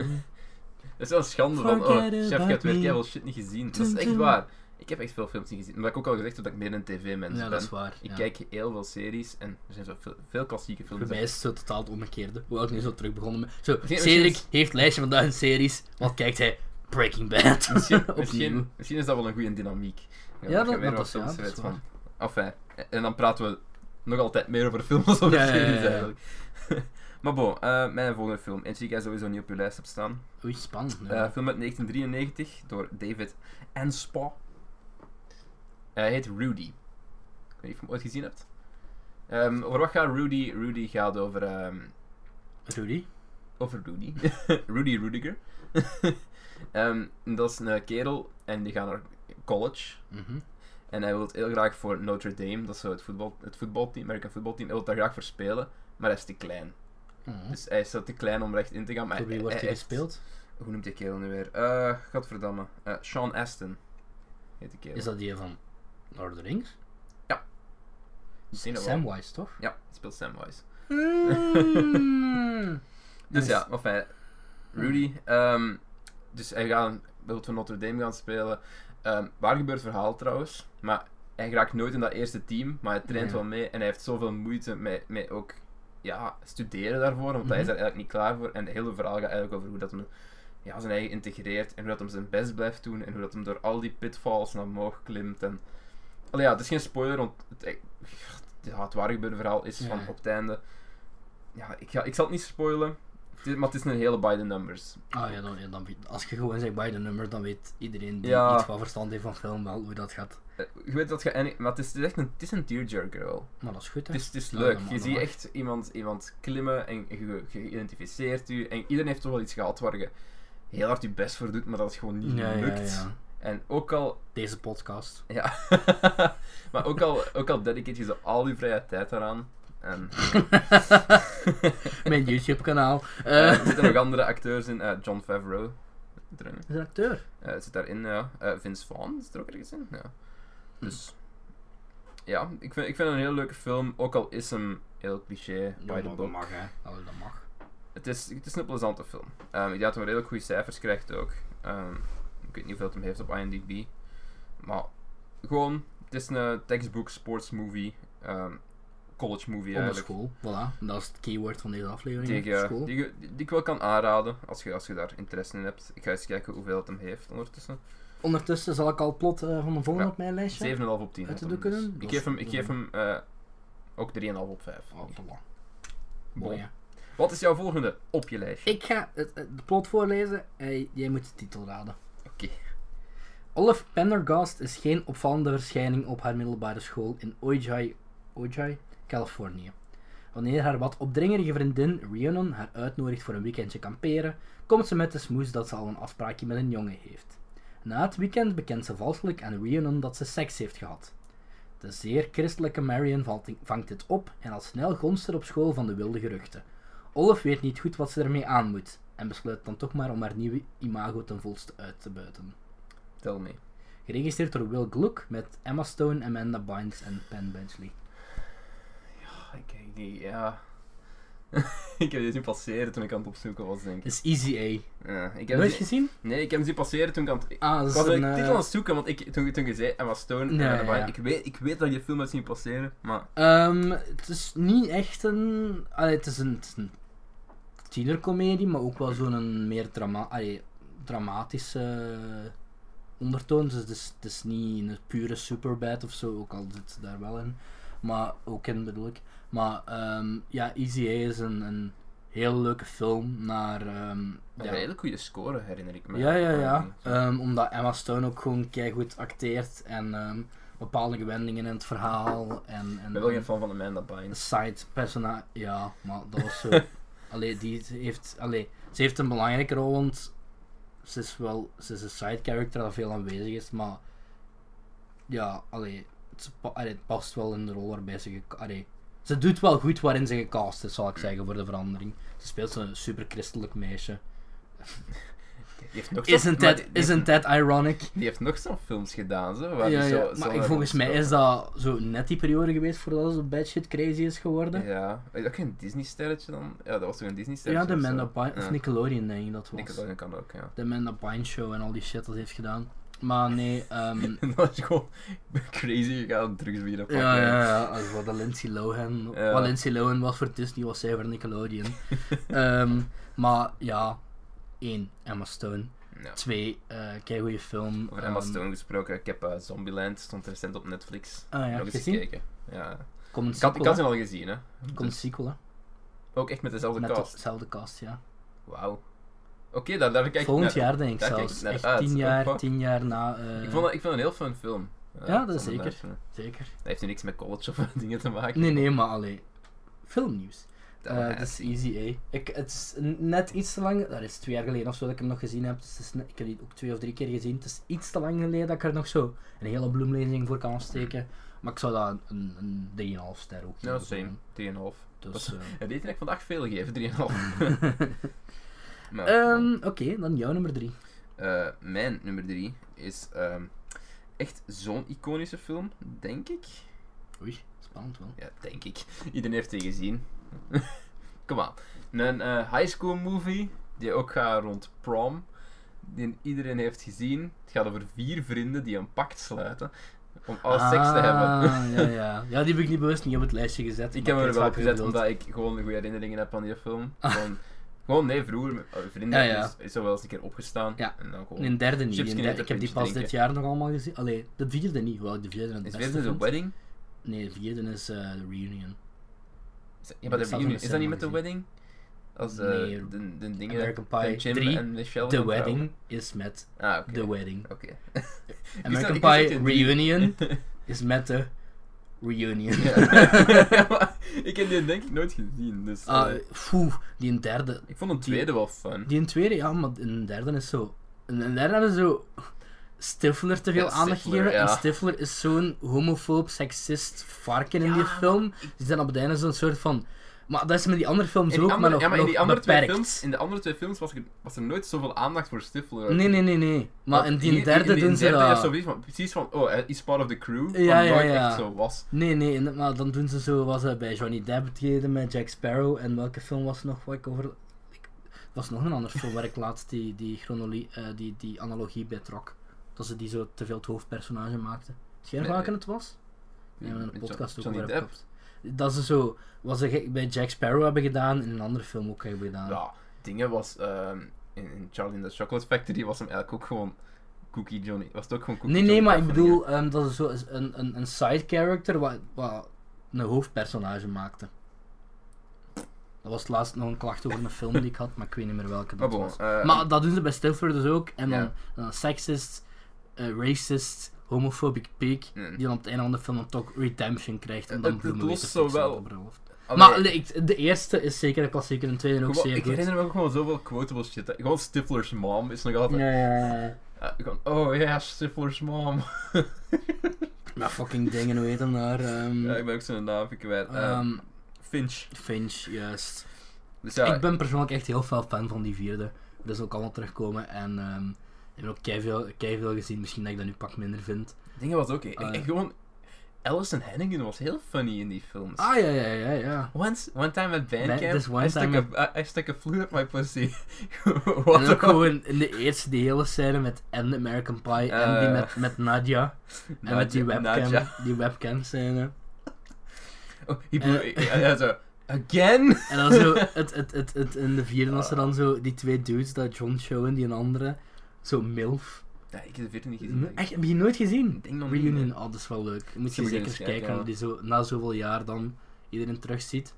Speaker 2: Dat is wel een schande van, oh,
Speaker 1: Forget
Speaker 2: chef, je
Speaker 1: about
Speaker 2: hebt weer
Speaker 1: me.
Speaker 2: keiveel shit niet gezien. Dat is
Speaker 1: Tum,
Speaker 2: echt
Speaker 1: tum.
Speaker 2: waar. Ik heb echt veel films niet gezien. Omdat ik ook al gezegd heb dat ik meer een tv-mens
Speaker 1: Ja,
Speaker 2: ben.
Speaker 1: dat is waar.
Speaker 2: Ik
Speaker 1: ja.
Speaker 2: kijk heel veel series en er zijn zo veel, veel klassieke
Speaker 1: Voor
Speaker 2: films.
Speaker 1: mij is het zo totaal het omgekeerde. Hoewel ik nu zo terug begonnen met... Zo,
Speaker 2: Misschien-
Speaker 1: Cedric
Speaker 2: misschien
Speaker 1: heeft lijstje van duizend series. Wat kijkt hij? Breaking Bad.
Speaker 2: Misschien,
Speaker 1: Opnieuw.
Speaker 2: misschien, misschien is dat wel een goede dynamiek.
Speaker 1: Ja, dat-
Speaker 2: je weer
Speaker 1: dat
Speaker 2: wat
Speaker 1: is- ja,
Speaker 2: films
Speaker 1: dat is
Speaker 2: weet van. Enfin, en dan praten we nog altijd meer over films dan over
Speaker 1: Ja, ja, ja,
Speaker 2: series
Speaker 1: ja.
Speaker 2: eigenlijk. maar bon, eh, mijn volgende film. En zie ik sowieso niet op je lijst hebt staan.
Speaker 1: Oei, spannend. hè.
Speaker 2: Eh, film uit 1993 door David Anspaugh. Hij heet Rudy. Ik weet niet of je hem ooit gezien hebt. Ehm, over wat gaat Rudy? Rudy gaat over, ehm,
Speaker 1: Rudy?
Speaker 2: over Rudy. Rudy Rudiger. Ehm, dat is een kerel en die gaat naar college.
Speaker 1: Mhm.
Speaker 2: En hij wil heel graag voor Notre Dame, dat is zo het, voetbal, het voetbalteam, American voetbalteam, hij wil daar graag voor spelen. Maar hij is te klein.
Speaker 1: Oh.
Speaker 2: Dus hij is zo te klein om recht in te gaan. Maar
Speaker 1: Door wie
Speaker 2: hij-
Speaker 1: wordt
Speaker 2: hij
Speaker 1: hij
Speaker 2: heeft-
Speaker 1: gespeeld?
Speaker 2: hoe noemt die kerel nu weer? Eh, godverdamme. Eh, Sean Aston heet die kerel.
Speaker 1: Is dat die van Lord of the Rings?
Speaker 2: eh, Ja. Ik denk dat wel.
Speaker 1: Samwise, toch?
Speaker 2: Ja, het speelt Samwise.
Speaker 1: Mm.
Speaker 2: Dus
Speaker 1: Nice.
Speaker 2: ja, maar fijn. Rudy, ehm, dus hij gaat een beeld van Notre Dame gaan spelen. Ehm, waar gebeurt het verhaal trouwens? Maar hij raakt nooit in dat eerste team, maar hij traint
Speaker 1: Ja.
Speaker 2: wel mee en hij heeft zoveel moeite met, met ook ja, studeren daarvoor, want hij is
Speaker 1: Mhm.
Speaker 2: daar eigenlijk niet klaar voor. En het hele verhaal gaat eigenlijk over hoe dat hem ja, zijn eigen integreert en hoe dat hem zijn best blijft doen en hoe dat hem door al die pitfalls naar omhoog klimt. En... Allee, ja, het is geen spoiler, want het, ja, het waar gebeurde verhaal is
Speaker 1: Ja.
Speaker 2: van op het einde. Ja, ik, ga, ik zal het niet spoilen, het is- maar het is een hele by the numbers.
Speaker 1: Ah ja, dan, ja, dan weet- als je gewoon zegt bij de nummer, dan weet iedereen die
Speaker 2: Ja.
Speaker 1: iets van verstand heeft van film wel hoe dat gaat.
Speaker 2: Eh, Je weet dat je eindigt, maar het is, het is echt een, het is een tearjerker wel.
Speaker 1: Maar dat is goed, hè?
Speaker 2: Het is, het is
Speaker 1: Ja,
Speaker 2: leuk.
Speaker 1: dat mag,
Speaker 2: Je
Speaker 1: dat
Speaker 2: ziet
Speaker 1: mag.
Speaker 2: echt iemand, iemand klimmen en je, je identificeert u. En iedereen heeft toch wel iets gehad waar je heel hard je best voor doet, maar dat het gewoon niet
Speaker 1: Ja, ja,
Speaker 2: lukt.
Speaker 1: ja.
Speaker 2: En ook al,
Speaker 1: Deze podcast.
Speaker 2: ja, maar ook al, ook al dedicate je zo al je vrije tijd daaraan. En
Speaker 1: Mijn YouTube-kanaal.
Speaker 2: eh,
Speaker 1: Eh
Speaker 2: er zitten nog andere acteurs in, eh, John Favreau. zit erin.
Speaker 1: is een acteur.
Speaker 2: Eh, het zit daarin, ja. Eh, Vince Vaughn zit er ook ergens in. Ja.
Speaker 1: Hm.
Speaker 2: Dus ja, ik vind, ik vind het een heel leuke film. Ook al is hem heel cliché.
Speaker 1: Ja,
Speaker 2: by the
Speaker 1: maar dat
Speaker 2: book.
Speaker 1: mag, hè? Allee, dat mag.
Speaker 2: Het, is, het is een plezante film. Ehm, ik denk dat hij redelijk goede cijfers krijgt ook. Ehm, ik weet niet hoeveel het hem heeft op IMDb. Maar gewoon, het is een textbook sports movie. ehm, college movie
Speaker 1: Onder
Speaker 2: eigenlijk.
Speaker 1: school, voilà. Dat is het keyword van deze aflevering.
Speaker 2: Die,
Speaker 1: hè.
Speaker 2: ik, eh,
Speaker 1: Mm, school.
Speaker 2: die, ik- die ik wel kan aanraden als je, als je daar interesse in hebt. Ik ga eens kijken hoeveel het hem heeft ondertussen. 7,5
Speaker 1: Ondertussen zal ik al het plot eh, van de volgende
Speaker 2: Ja.
Speaker 1: op mijn lijstje.
Speaker 2: op 10.
Speaker 1: Uit de
Speaker 2: had hem,
Speaker 1: doeken? Dat
Speaker 2: dus. ik
Speaker 1: is-
Speaker 2: geef hem, ik
Speaker 1: dat
Speaker 2: geef
Speaker 1: is-
Speaker 2: hem eh, ook 3,5 op 5.
Speaker 1: Oh, voilà.
Speaker 2: Bon.
Speaker 1: Mooi, hè.
Speaker 2: Wat is jouw volgende op je lijstje?
Speaker 1: Ik ga het, het- de plot voorlezen. Eh, jij moet de titel raden.
Speaker 2: Oké.
Speaker 1: Olive Pendergast is geen opvallende verschijning op haar middelbare school in Ojai, Ojai Californië. Wanneer haar wat opdringerige vriendin Rhiannon haar uitnodigt voor een weekendje kamperen, komt ze met de smoes dat ze al een afspraakje met een jongen heeft. Na het weekend bekent ze valselijk aan Rhiannon dat ze seks heeft gehad. De zeer christelijke Marion valt- vangt dit op en al snel gonst er op school van de wilde geruchten. Olaf weet niet goed wat ze ermee aan moet en besluit dan toch maar om haar nieuwe imago ten volste uit te buiten.
Speaker 2: Tel me.
Speaker 1: Geregistreerd door Will Gluck met Emma Stone, Amanda Bynes en Penn Benchley. Oh,
Speaker 2: Ik, ik- ja. ik heb dit zien passeren toen ik aan het opzoeken was, denk ik.
Speaker 1: Dat is Easy A.
Speaker 2: Ja, ik heb
Speaker 1: Nooit
Speaker 2: die-
Speaker 1: gezien?
Speaker 2: nee, ik heb hem zien passeren toen ik aan het... Ik
Speaker 1: Ah, dat is
Speaker 2: was
Speaker 1: een...
Speaker 2: eigenlijk
Speaker 1: eh,
Speaker 2: titel aan het zoeken, want ik, toen, toen je zei Emma Stone,
Speaker 1: Nee,
Speaker 2: eh,
Speaker 1: ja,
Speaker 2: erbij,
Speaker 1: ja.
Speaker 2: Ik, weet, ik weet dat je film hebt zien passeren, maar...
Speaker 1: ehm, het is niet echt een... Allee, het is een, het is een tienercomedie, maar ook wel zo'n meer drama allee, dramatische ondertoon. Dus het is, het is niet een pure superbad of zo, ook al zit ze daar wel in. Maar ook in bedoel ik. Maar ehm, ja, Easy A is een, een heel leuke film naar... ehm,
Speaker 2: Een redelijk goede score, herinner ik me.
Speaker 1: Ja, ja, ja.
Speaker 2: Ehm,
Speaker 1: Ehm, omdat Emma Stone ook gewoon keigoed acteert en ehm, bepaalde gewendingen in het verhaal en,
Speaker 2: Ik
Speaker 1: en
Speaker 2: ben wel geen fan van Amanda Bynes.
Speaker 1: side persona ja, maar dat was zo. allee, die heeft, allee, ze heeft een belangrijke rol, want ze is wel, ze is een side character dat veel aanwezig is, maar ja, allee, het, pa- allee, het past wel in de rol waarbij ze, ge- allee, ze doet wel goed waarin ze gecast is, zal ik zeggen, voor de verandering. Ze speelt zo'n super christelijk meisje.
Speaker 2: Die heeft nog zo'n-
Speaker 1: Isn't
Speaker 2: maar
Speaker 1: that,
Speaker 2: die- die-
Speaker 1: isn't that ironic?
Speaker 2: Die heeft nog zo'n films gedaan, zo. Waar
Speaker 1: ja,
Speaker 2: die zo,
Speaker 1: ja.
Speaker 2: zo
Speaker 1: maar ik, volgens mij is dat zo net die periode geweest voordat ze bad shit crazy is geworden. Ja,
Speaker 2: Ja. Is dat geen Disney-sterretje dan? Ja, dat was toch een Disney-sterretje?
Speaker 1: de
Speaker 2: of zo?
Speaker 1: Amanda Pine,
Speaker 2: Ja.
Speaker 1: of Nickelodeon denk ik dat was.
Speaker 2: Nickelodeon kan ook, ja.
Speaker 1: De Amanda Pine show en al die shit dat ze heeft gedaan. Maar nee, ehm
Speaker 2: En dan is het gewoon crazy, je gaat drugs bieden pakken.
Speaker 1: ja, ja, ja, als wat de Lindsay Lohan,
Speaker 2: Ja.
Speaker 1: wat Lindsay Lohan was voor Disney was zij voor Nickelodeon. Ehm, maar ja, één, Emma Stone.
Speaker 2: Ja.
Speaker 1: Twee, eh kei goede film.
Speaker 2: Over Emma
Speaker 1: Ehm,
Speaker 2: Stone gesproken, ik heb eh, Zombieland, stond recent op Netflix.
Speaker 1: Ah ja,
Speaker 2: nog eens
Speaker 1: gezien?
Speaker 2: gekeken. Ja.
Speaker 1: Komt een
Speaker 2: Ik had,
Speaker 1: sequel,
Speaker 2: ik had
Speaker 1: hè?
Speaker 2: ze al gezien, hè. Dus
Speaker 1: Komt een sequel, hè?
Speaker 2: Ook echt met dezelfde
Speaker 1: Met
Speaker 2: cast.
Speaker 1: dezelfde cast, ja.
Speaker 2: Wauw. Oké, daar, daar kijk ik
Speaker 1: Volgend
Speaker 2: naar-
Speaker 1: jaar denk ik
Speaker 2: daar kijk
Speaker 1: zelfs.
Speaker 2: ik naar
Speaker 1: Echt
Speaker 2: uit.
Speaker 1: tien
Speaker 2: Oh,
Speaker 1: jaar,
Speaker 2: fuck.
Speaker 1: tien jaar na. eh,
Speaker 2: Ik vond, dat- ik vond het een heel fun film. Eh,
Speaker 1: Ja, dat is
Speaker 2: Zombieland.
Speaker 1: zeker.
Speaker 2: Dat
Speaker 1: Zeker.
Speaker 2: heeft nu niks met college of dingen te maken.
Speaker 1: Nee, nee, maar allee. Filmnieuws.
Speaker 2: Dat
Speaker 1: Eh,
Speaker 2: was
Speaker 1: Dat is
Speaker 2: easy.
Speaker 1: easy, eh. Ik, het is n- net iets te lang. Dat is twee jaar geleden of zo dat ik hem nog gezien heb. Dus het is net- ik heb die ook twee of drie keer gezien. Het is iets te lang geleden dat ik er nog zo een hele bloemlezing voor kan afsteken. Maar ik zou daar een- een, een 3,5 ster ook
Speaker 2: Ja,
Speaker 1: geven.
Speaker 2: same. 3,5.
Speaker 1: Dus, eh,
Speaker 2: En die trek vandaag veel gegeven, 3,5. Maar,
Speaker 1: ehm, Oké, dan jouw nummer 3.
Speaker 2: Eh, mijn nummer 3 is ehm, echt zo'n iconische film, denk ik.
Speaker 1: Oei, spannend wel.
Speaker 2: Ja, denk ik. Iedereen heeft die gezien. Kom aan. Een eh, high school movie die ook gaat rond prom. Die iedereen heeft gezien. Het gaat over vier vrienden die een pact sluiten om alle seks te hebben.
Speaker 1: Ah, ja, ja. ja, die heb ik niet bewust niet op het lijstje gezet. maar
Speaker 2: Ik heb hem er
Speaker 1: weet
Speaker 2: wel op
Speaker 1: welke je
Speaker 2: gezet
Speaker 1: bedoelt.
Speaker 2: omdat ik gewoon goede herinneringen heb aan die film. Gewoon, gewoon nee, vroeger met eh, vrienden
Speaker 1: Ah. Ja, ja.
Speaker 2: Is, is er wel eens een keer opgestaan.
Speaker 1: Ja.
Speaker 2: En dan gewoon.
Speaker 1: In een derde niet.
Speaker 2: Chips
Speaker 1: in
Speaker 2: kunnen
Speaker 1: derde- ik heb die pas
Speaker 2: drinken.
Speaker 1: dit jaar nog allemaal gezien. Allee, de vierde niet. Hoewel ik de vierde het
Speaker 2: Is
Speaker 1: beste
Speaker 2: weer de
Speaker 1: vind.
Speaker 2: wedding?
Speaker 1: Nee, de vierde is eh, de reunion.
Speaker 2: Is- Ja, maar
Speaker 1: Ik
Speaker 2: de
Speaker 1: zal
Speaker 2: reunion-
Speaker 1: het
Speaker 2: is dat niet met de
Speaker 1: gezien.
Speaker 2: wedding? Als eh,
Speaker 1: Nee,
Speaker 2: de, de dingen.
Speaker 1: American Pie
Speaker 2: Jim
Speaker 1: 3,
Speaker 2: en Michelle.
Speaker 1: De
Speaker 2: gaan trouwen.
Speaker 1: wedding is met
Speaker 2: Ah, oké.
Speaker 1: de wedding.
Speaker 2: Oké.
Speaker 1: American
Speaker 2: Ik dacht- ik
Speaker 1: Pie
Speaker 2: dacht dat je die-
Speaker 1: reunion is met de reunion.
Speaker 2: Ja. Maar ik heb die denk ik nooit gezien, dus...
Speaker 1: Ah,
Speaker 2: eh,
Speaker 1: poeh, die een derde.
Speaker 2: ik vond een tweede wel fun.
Speaker 1: Die een tweede, ja, maar een derde is zo. Een derde hebben ze zo. Stifler te veel
Speaker 2: Ja,
Speaker 1: aandacht
Speaker 2: Stifler,
Speaker 1: gegeven. En
Speaker 2: ja.
Speaker 1: Stifler is zo'n homofoob, seksist varken in die film. Die zijn op het einde zo'n soort van. Maar dat is met die andere films
Speaker 2: In die
Speaker 1: ook,
Speaker 2: andere-
Speaker 1: maar nog,
Speaker 2: ja, maar in
Speaker 1: nog
Speaker 2: die andere twee
Speaker 1: beperkt.
Speaker 2: films, in de andere twee films was, ik, was er nooit zoveel aandacht voor Stifler.
Speaker 1: Nee, nee, nee, nee. Maar in die derde doen ze
Speaker 2: derde
Speaker 1: dat.
Speaker 2: ja, zo precies van- precies van, oh, hij is part of the crew,
Speaker 1: Ja,
Speaker 2: wat
Speaker 1: ja,
Speaker 2: nooit
Speaker 1: ja.
Speaker 2: echt zo was.
Speaker 1: Nee, nee, in- maar dan doen ze zo, was het bij Johnny Depp deden met Jack Sparrow. En welke film was nog waar ik over. ik- Er was nog een ander film waar ik laatst die, die, chronologie, eh, die, die analogie bij trok. Dat ze die zo te veel het hoofdpersonage maakten. Weet jij nog
Speaker 2: Nee,
Speaker 1: welke
Speaker 2: nee.
Speaker 1: het was? Nee, we hebben een
Speaker 2: Met Jo-
Speaker 1: podcast ook
Speaker 2: Johnny
Speaker 1: over
Speaker 2: Depp.
Speaker 1: gekapt. Dat ze zo, wat ze ge- bij Jack Sparrow hebben gedaan, in een andere film ook hebben gedaan.
Speaker 2: Ja, dingen was... ehm, in, in Charlie in the Chocolate Factory was hem eigenlijk ook gewoon Cookie Johnny. Was het ook gewoon Cookie
Speaker 1: nee, nee,
Speaker 2: Johnny
Speaker 1: maar ik
Speaker 2: Depp van
Speaker 1: bedoel, ehm, dat ze zo is een, een, een side character wat, wat een hoofdpersonage maakte. Dat was laatst nog een klacht over een film die ik had, maar ik weet niet meer welke
Speaker 2: Maar
Speaker 1: dat
Speaker 2: bon,
Speaker 1: was.
Speaker 2: eh,
Speaker 1: Maar dat doen ze bij Stilford dus ook. En dan,
Speaker 2: Ja.
Speaker 1: dan sexist, eh, racist, homophobic peak,
Speaker 2: Mm.
Speaker 1: die dan op het einde van de film dan toch redemption krijgt. En
Speaker 2: Eh, Het-
Speaker 1: dan
Speaker 2: het
Speaker 1: bloemen weet
Speaker 2: lost
Speaker 1: te
Speaker 2: zo
Speaker 1: fixen op
Speaker 2: wel-
Speaker 1: de bruiloft.
Speaker 2: allee,
Speaker 1: Maar nee, ik- de eerste is zeker een klassieker, en de tweede ook
Speaker 2: Gewoon-
Speaker 1: zeer
Speaker 2: ik
Speaker 1: goed.
Speaker 2: herinner me ook gewoon zoveel quotable shit. hè. Gewoon Stifler's mom is nog altijd.
Speaker 1: Ja, ja, ja, ja.
Speaker 2: eh, gewoon, oh ja, Stifler's mom.
Speaker 1: Mm. Maar fucking dingen, hoe heet hem daar? ehm,
Speaker 2: ja, ik ben ook zijn naam even kwijt. Eh,
Speaker 1: ehm,
Speaker 2: Finch.
Speaker 1: Finch, juist.
Speaker 2: Dus ja,
Speaker 1: Ik ben persoonlijk echt heel fel fan van die vierde. Dat is ook allemaal terugkomen. En ehm ik heb ook keiveel, keiveel gezien. Misschien dat ik dat nu pak minder vind.
Speaker 2: dingen was ook. ik-
Speaker 1: Ah,
Speaker 2: ik-
Speaker 1: ja.
Speaker 2: gewoon, Allison Hennigan was heel funny in die films.
Speaker 1: Ah, ja, ja, ja, ja.
Speaker 2: Once, one time at
Speaker 1: Ba-
Speaker 2: Bandcamp,
Speaker 1: this one
Speaker 2: I, stuck
Speaker 1: time
Speaker 2: a, I, I stuck a flute up my pussy.
Speaker 1: En
Speaker 2: Wat
Speaker 1: ook gewoon in de eerste, die hele scène met en American Pie en die
Speaker 2: Eh.
Speaker 1: met, met Nadia. En met die webcam,
Speaker 2: Nadja.
Speaker 1: die webcam scène.
Speaker 2: Oh, he
Speaker 1: Uh,
Speaker 2: blew, ja, ja, zo, again?
Speaker 1: En dan zo, het, het, het, het, in de vierde was er dan zo die twee dudes, dat John Show en die een andere. Zo MILF.
Speaker 2: Ja, ik heb de vierde niet gezien. denk ik.
Speaker 1: Echt, heb je die nooit gezien?
Speaker 2: Ik denk nog niet,
Speaker 1: Reunion,
Speaker 2: nee.
Speaker 1: oh, dat is wel leuk. Moet je
Speaker 2: moet
Speaker 1: zeker
Speaker 2: eens
Speaker 1: eens
Speaker 2: kijken,
Speaker 1: kijken,
Speaker 2: ja.
Speaker 1: omdat die zo, na zoveel jaar dan iedereen terugziet.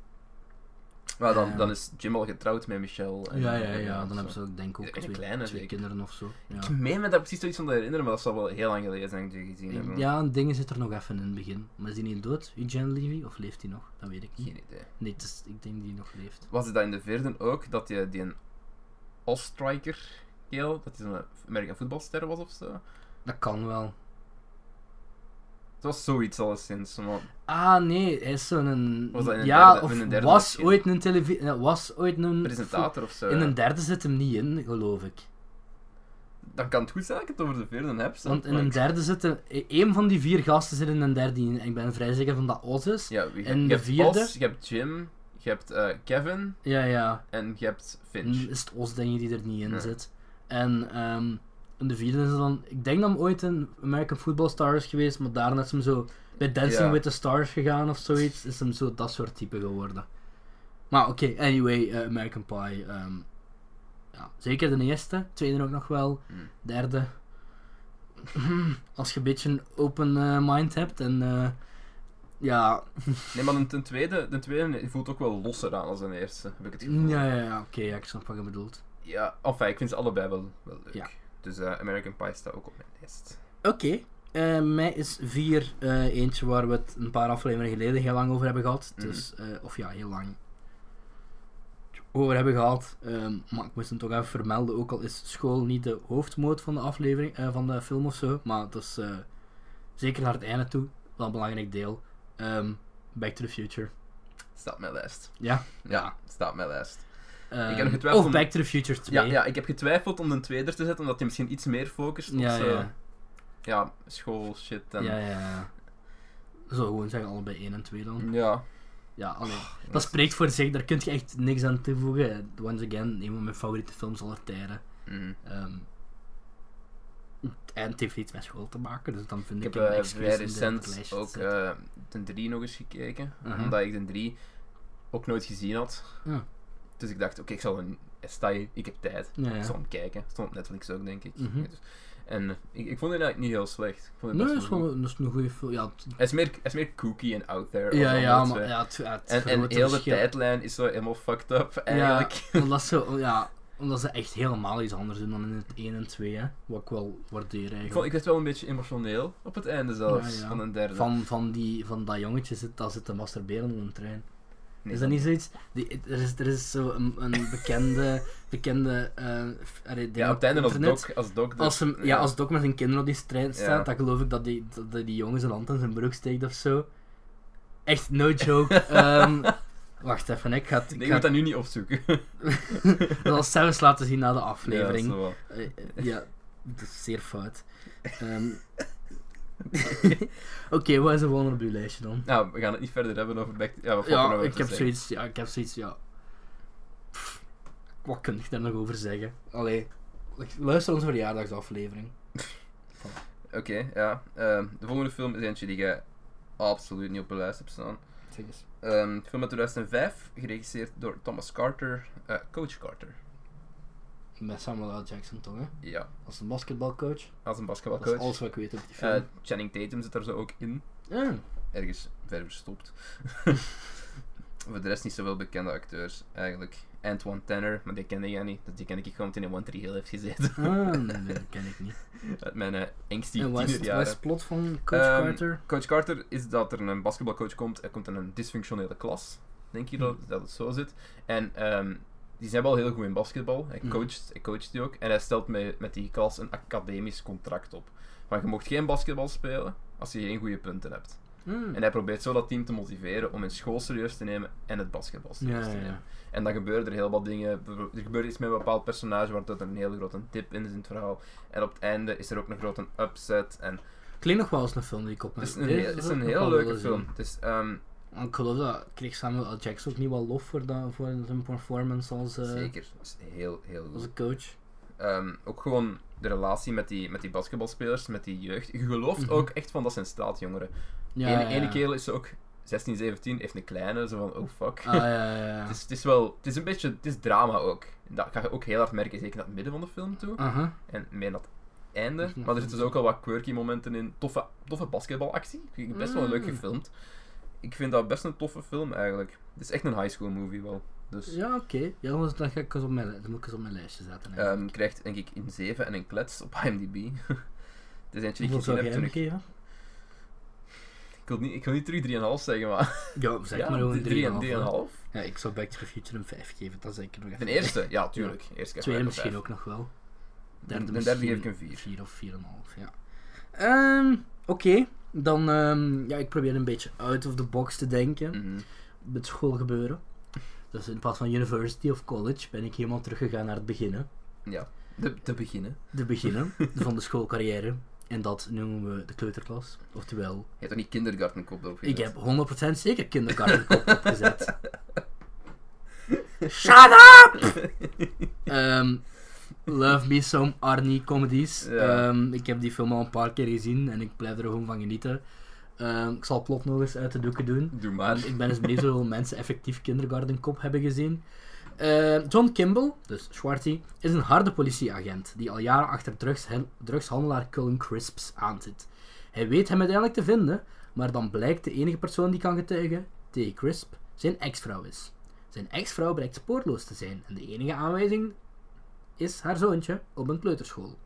Speaker 2: Maar dan,
Speaker 1: Ehm.
Speaker 2: dan is Jim al getrouwd met Michelle. en-
Speaker 1: Ja, ja,
Speaker 2: en
Speaker 1: ja. Dan
Speaker 2: zo.
Speaker 1: hebben ze ook, denk ik, ook
Speaker 2: Ja, en
Speaker 1: twee,
Speaker 2: kleine,
Speaker 1: twee
Speaker 2: zeker.
Speaker 1: kinderen of zo. Ja.
Speaker 2: Ik meen me daar precies zoiets van te herinneren, maar dat zal wel heel lang geleden zijn dat ik die gezien heb.
Speaker 1: ja, een ding zit er nog even in het begin. Maar is die niet dood, Eugene Levy? Of leeft hij nog? Dat weet ik niet.
Speaker 2: Geen idee.
Speaker 1: Nee, het is, ik denk dat hij nog leeft.
Speaker 2: Was het dat in de vierde ook, dat die, die een Ostriker keel, dat is een American voetbalster was of zo?
Speaker 1: Dat kan wel.
Speaker 2: Het was zoiets alleszins, maar...
Speaker 1: Ah, nee, hij is zo'n...
Speaker 2: Was dat in een
Speaker 1: ja,
Speaker 2: derde-
Speaker 1: of
Speaker 2: in een derde
Speaker 1: was
Speaker 2: misschien?
Speaker 1: ooit een televisie... was ooit een...
Speaker 2: presentator eh. of zo.
Speaker 1: In
Speaker 2: ja.
Speaker 1: een derde zit hem niet in, geloof ik.
Speaker 2: Dan kan het goed zijn dat ik het over de vierde heb, zo.
Speaker 1: Want in
Speaker 2: maar
Speaker 1: een
Speaker 2: ik-
Speaker 1: derde zitten... Eén van die vier gasten zit in een derde in. En ik ben vrij zeker van dat Oz is.
Speaker 2: Ja, wie- je,
Speaker 1: in de
Speaker 2: hebt
Speaker 1: vierde-
Speaker 2: Os, je hebt Jim, je hebt eh, Kevin
Speaker 1: Ja, ja.
Speaker 2: en je hebt
Speaker 1: En
Speaker 2: Finch.
Speaker 1: is het Os, denk je, die er niet in
Speaker 2: Ja.
Speaker 1: zit. En ehm, in de vierde is het dan... Ik denk dat hem ooit een American Football Star is geweest, maar daarna is hem zo bij Dancing
Speaker 2: Ja.
Speaker 1: with the Stars gegaan of zoiets. Is hem zo dat soort type geworden. Maar oké, anyway, eh, American Pie. ehm, ja, zeker de eerste, tweede ook nog wel,
Speaker 2: Hmm.
Speaker 1: derde. Als je een beetje een open eh, mind hebt en... eh, ja,
Speaker 2: Nee, maar ten tweede, ten tweede voelt ook wel losser aan als een eerste, heb ik het gevoel.
Speaker 1: ja, ja, ja oké, ja, ik snap wat je bedoelt.
Speaker 2: Ja, enfin, ik vind ze allebei wel, wel leuk.
Speaker 1: Ja.
Speaker 2: Dus eh, American Pie staat ook op mijn lijst.
Speaker 1: Oké. Eh, mij is vier eh, eentje waar we het een paar afleveringen geleden heel lang over hebben gehad.
Speaker 2: Mhm.
Speaker 1: Dus, eh, of ja, heel lang over hebben gehad. Ehm, maar ik moest hem toch even vermelden. Ook al is school niet de hoofdmoot van de aflevering, eh, van de film of zo. Maar het is eh, zeker naar het einde toe wel een belangrijk deel. Ehm, Back to the Future.
Speaker 2: Staat op mijn lijst.
Speaker 1: Ja.
Speaker 2: Ja, staat op mijn lijst.
Speaker 1: Ehm,
Speaker 2: heb getwijfeld
Speaker 1: Of
Speaker 2: om-
Speaker 1: Back to the Future 2.
Speaker 2: Ja, ja, ik heb getwijfeld om een tweede te zetten, omdat hij misschien iets meer focust op
Speaker 1: ja,
Speaker 2: zo-
Speaker 1: ja.
Speaker 2: ja, school shit. En...
Speaker 1: Ja, ja, ja. Zo gewoon zeggen, allebei 1 en 2 dan.
Speaker 2: Ja.
Speaker 1: Ja, allee, dat spreekt voor zich, daar kun je echt niks aan toevoegen. Once again, een van mijn favoriete films aller tijden.
Speaker 2: Mhm.
Speaker 1: Ehm, en het heeft niets met school te maken, dus dan vind
Speaker 2: Ik
Speaker 1: ik,
Speaker 2: heb
Speaker 1: hem
Speaker 2: eh,
Speaker 1: excuus om
Speaker 2: vrij
Speaker 1: dit op het
Speaker 2: recent
Speaker 1: lijstje te
Speaker 2: ook
Speaker 1: zetten.
Speaker 2: eh de 3 nog eens gekeken.
Speaker 1: Mhm.
Speaker 2: Omdat ik de 3 ook nooit gezien had.
Speaker 1: Ja.
Speaker 2: Dus ik dacht, oké, ik zal een stijl, ik heb tijd.
Speaker 1: Ja,
Speaker 2: Ik
Speaker 1: ja.
Speaker 2: zal hem kijken. Stond op Netflix ook, denk ik.
Speaker 1: Mhm.
Speaker 2: Dus- en ik, ik vond het eigenlijk niet heel slecht. Ik vond het
Speaker 1: Nee,
Speaker 2: best
Speaker 1: dat is
Speaker 2: wel
Speaker 1: wel
Speaker 2: goed.
Speaker 1: een- dat is een goede film. Ja, het-
Speaker 2: Hij is meer, hij is meer kooky en out there.
Speaker 1: ja,
Speaker 2: als
Speaker 1: ja,
Speaker 2: andere
Speaker 1: maar
Speaker 2: twee.
Speaker 1: ja, het, ja, het
Speaker 2: eh, En, en
Speaker 1: vergroot
Speaker 2: heel de
Speaker 1: verschil.
Speaker 2: tijdlijn is zo helemaal fucked up, eigenlijk.
Speaker 1: Ja, omdat, ze, ja, omdat ze echt helemaal iets anders doen dan in het 1 en 2, hè, wat ik wel waardeer
Speaker 2: Ik, vond,
Speaker 1: eigenlijk.
Speaker 2: ik werd wel een beetje emotioneel op het einde zelfs,
Speaker 1: Ja, ja.
Speaker 2: van een derde.
Speaker 1: Van, van, die, van dat jongetje zit, dat zit te masturberen op een trein.
Speaker 2: Nee,
Speaker 1: is dat niet zoiets? Die, er, is, er is zo een, een bekende, bekende eh f- allee, ding
Speaker 2: Ja, op het einde als
Speaker 1: internet.
Speaker 2: Doc. Als doc dus-
Speaker 1: Als, hem, ja, als Doc met zijn kinderen op die trein staat,
Speaker 2: Ja.
Speaker 1: dan geloof ik dat die, dat die die jongen zijn hand in zijn broek steekt of zo. Echt, no joke. Ehm, wacht even, ik ga het...
Speaker 2: Nee,
Speaker 1: ik
Speaker 2: ik
Speaker 1: ga het-
Speaker 2: moet dat nu niet opzoeken.
Speaker 1: dat zal zelfs laten zien na de
Speaker 2: Nee, dat is
Speaker 1: aflevering.
Speaker 2: wel waar.
Speaker 1: Eh, eh, ja, dat is zeer fout. Ehm, Oké, wat is de volgende op uw lijstje dan?
Speaker 2: Nou, we gaan het niet verder hebben over Back Ja, wat valt er nog
Speaker 1: Ja,
Speaker 2: over
Speaker 1: ik
Speaker 2: te
Speaker 1: heb
Speaker 2: zeggen?
Speaker 1: zoiets, ja, ik heb zoiets, ja. Pff, wat kun ik daar nog over zeggen? Allee, luister onze verjaardagsaflevering.
Speaker 2: Oké, ja. Ehm, de volgende film is eentje die je absoluut niet op de lijst hebt staan.
Speaker 1: Zeg eens.
Speaker 2: Ehm, film uit 2005, geregisseerd door Thomas Carter, eh, Coach Carter.
Speaker 1: Met Samuel L. Jackson toch, hè?
Speaker 2: Ja,
Speaker 1: Als een basketbalcoach.
Speaker 2: als een
Speaker 1: Dat is
Speaker 2: basketbalcoach.
Speaker 1: alles wat ik weet over die
Speaker 2: Eh,
Speaker 1: film.
Speaker 2: Channing Tatum zit daar zo ook in.
Speaker 1: Ja.
Speaker 2: ergens ver verstopt. Voor de rest niet zoveel bekende acteurs eigenlijk. Antoine Tanner, maar die kende jij niet. Dus die ken ik gewoon toen hij in One Tree Hill heeft gezeten.
Speaker 1: Ah, nee, nee, dat ken ik niet.
Speaker 2: Uit mijn eh angstige
Speaker 1: en wat is, het- wat is
Speaker 2: tienerjaren.
Speaker 1: het plot van Coach
Speaker 2: Ehm,
Speaker 1: Carter?
Speaker 2: Coach Carter is dat er een basketbalcoach komt. Hij komt in een dysfunctionele klas. Denk je dat,
Speaker 1: Hmm.
Speaker 2: dat het zo zit? En ehm, die zijn wel heel goed in basketbal. Hij
Speaker 1: Mhm.
Speaker 2: coacht, hij coacht die ook. En hij stelt met, met die klas een academisch contract op. Maar je mocht geen basketbal spelen als je geen goede punten hebt.
Speaker 1: Hmm.
Speaker 2: En hij probeert zo dat team te motiveren om hun school serieus te nemen en het basketbal
Speaker 1: Ja,
Speaker 2: serieus
Speaker 1: ja,
Speaker 2: te nemen.
Speaker 1: ja.
Speaker 2: En dan gebeuren er heel wat dingen. Bijvoorbeeld, Er gebeurt iets met een bepaald personage waar dat er een hele grote tip in is in het verhaal. En op het einde is er ook een grote upset. En
Speaker 1: Klinkt nog wel eens een film die ik op
Speaker 2: het
Speaker 1: mijn
Speaker 2: is een,
Speaker 1: Deze
Speaker 2: heel, het is
Speaker 1: zou
Speaker 2: een
Speaker 1: ik nog
Speaker 2: heel
Speaker 1: wel
Speaker 2: leuke
Speaker 1: willen
Speaker 2: film.
Speaker 1: zien.
Speaker 2: Het is, ehm,
Speaker 1: Want Ik geloof dat kreeg Samuel L. Jackson ook niet wel lof voor, dat, voor zijn performance als, eh,
Speaker 2: zeker, het is heel, heel
Speaker 1: als
Speaker 2: goed.
Speaker 1: een coach.
Speaker 2: Ehm, ook gewoon de relatie met die, met die basketbalspelers, met die jeugd. Je gelooft
Speaker 1: Mhm.
Speaker 2: ook echt van dat zijn straatjongeren.
Speaker 1: Ja,
Speaker 2: Ene,
Speaker 1: ja,
Speaker 2: ene
Speaker 1: ja.
Speaker 2: kerel is ook 16, 17, heeft een kleine. Zo van, oh fuck.
Speaker 1: Ah, ja, ja, ja.
Speaker 2: Het is, het is wel, het is een beetje, het is drama ook. Dat ga je ook heel hard merken, zeker naar het midden van de film toe.
Speaker 1: Aha.
Speaker 2: En meer naar het
Speaker 1: Dat
Speaker 2: einde.
Speaker 1: is nog
Speaker 2: Maar er
Speaker 1: goed.
Speaker 2: zitten dus ook al wat quirky momenten in. Toffe, toffe basketbalactie. Ik vind het Best wel leuk
Speaker 1: Mm.
Speaker 2: gefilmd. Ik vind dat best een toffe film eigenlijk. Het is echt een high school movie wel. Dus
Speaker 1: Ja, oké. Ja, anders dan ga ik eens op mijn, li- dan moet ik eens op mijn lijstje zetten. hè.
Speaker 2: ehm, krijgt denk ik een 7 en een klets op IMDb. het is eentje die ik
Speaker 1: Hoeveel
Speaker 2: gezien
Speaker 1: zou jij
Speaker 2: heb toen
Speaker 1: hem
Speaker 2: ik...
Speaker 1: geven?
Speaker 2: Ik wil niet, ik wil niet terug 3,5 zeggen, maar...
Speaker 1: Ja, zeg
Speaker 2: ja,
Speaker 1: maar gewoon 3,5.
Speaker 2: 3,5.
Speaker 1: Ja, ik zou Back to the Future een 5 geven, dat zeker nog even.
Speaker 2: De eerste? Ja, tuurlijk. Eerst
Speaker 1: De
Speaker 2: krijg
Speaker 1: tweede
Speaker 2: ik
Speaker 1: misschien
Speaker 2: een
Speaker 1: ook nog wel.
Speaker 2: vijf. De derde geef ik een 4.
Speaker 1: 4 of 4,5, ja. Ehm, oké, dan ehm, ja, ik probeer een beetje out of the box te denken.
Speaker 2: Mhm.
Speaker 1: Met schoolgebeuren. Dus in plaats van university of college ben ik helemaal teruggegaan naar het beginnen.
Speaker 2: Mhm. Ja, te, te beginnen.
Speaker 1: De beginnen van de schoolcarrière. En dat noemen we de kleuterklas. Oftewel,
Speaker 2: Je hebt toch niet kindergarten kop erop
Speaker 1: Ik
Speaker 2: gezet?
Speaker 1: heb 100% zeker kindergartenkop opgezet. Shut up! Ehm, love me some Arnie comedies.
Speaker 2: Ja.
Speaker 1: Ehm, ik heb die film al een paar keer gezien en ik blijf er gewoon van genieten. Ehm, ik zal het plot nog eens uit de doeken doen.
Speaker 2: Doe maar.
Speaker 1: Want ik ben eens benieuwd hoeveel mensen effectief kindergartenkop hebben gezien. Ehm, John Kimball, dus Schwarty, is een harde politieagent die al jaren achter drugshen- drugshandelaar Cullen Crisps aanzit. Hij weet hem uiteindelijk te vinden, maar dan blijkt de enige persoon die kan getuigen, T. Crisp, zijn ex-vrouw is. Zijn ex-vrouw blijkt spoorloos te zijn en de enige aanwijzing is haar zoontje op een kleuterschool.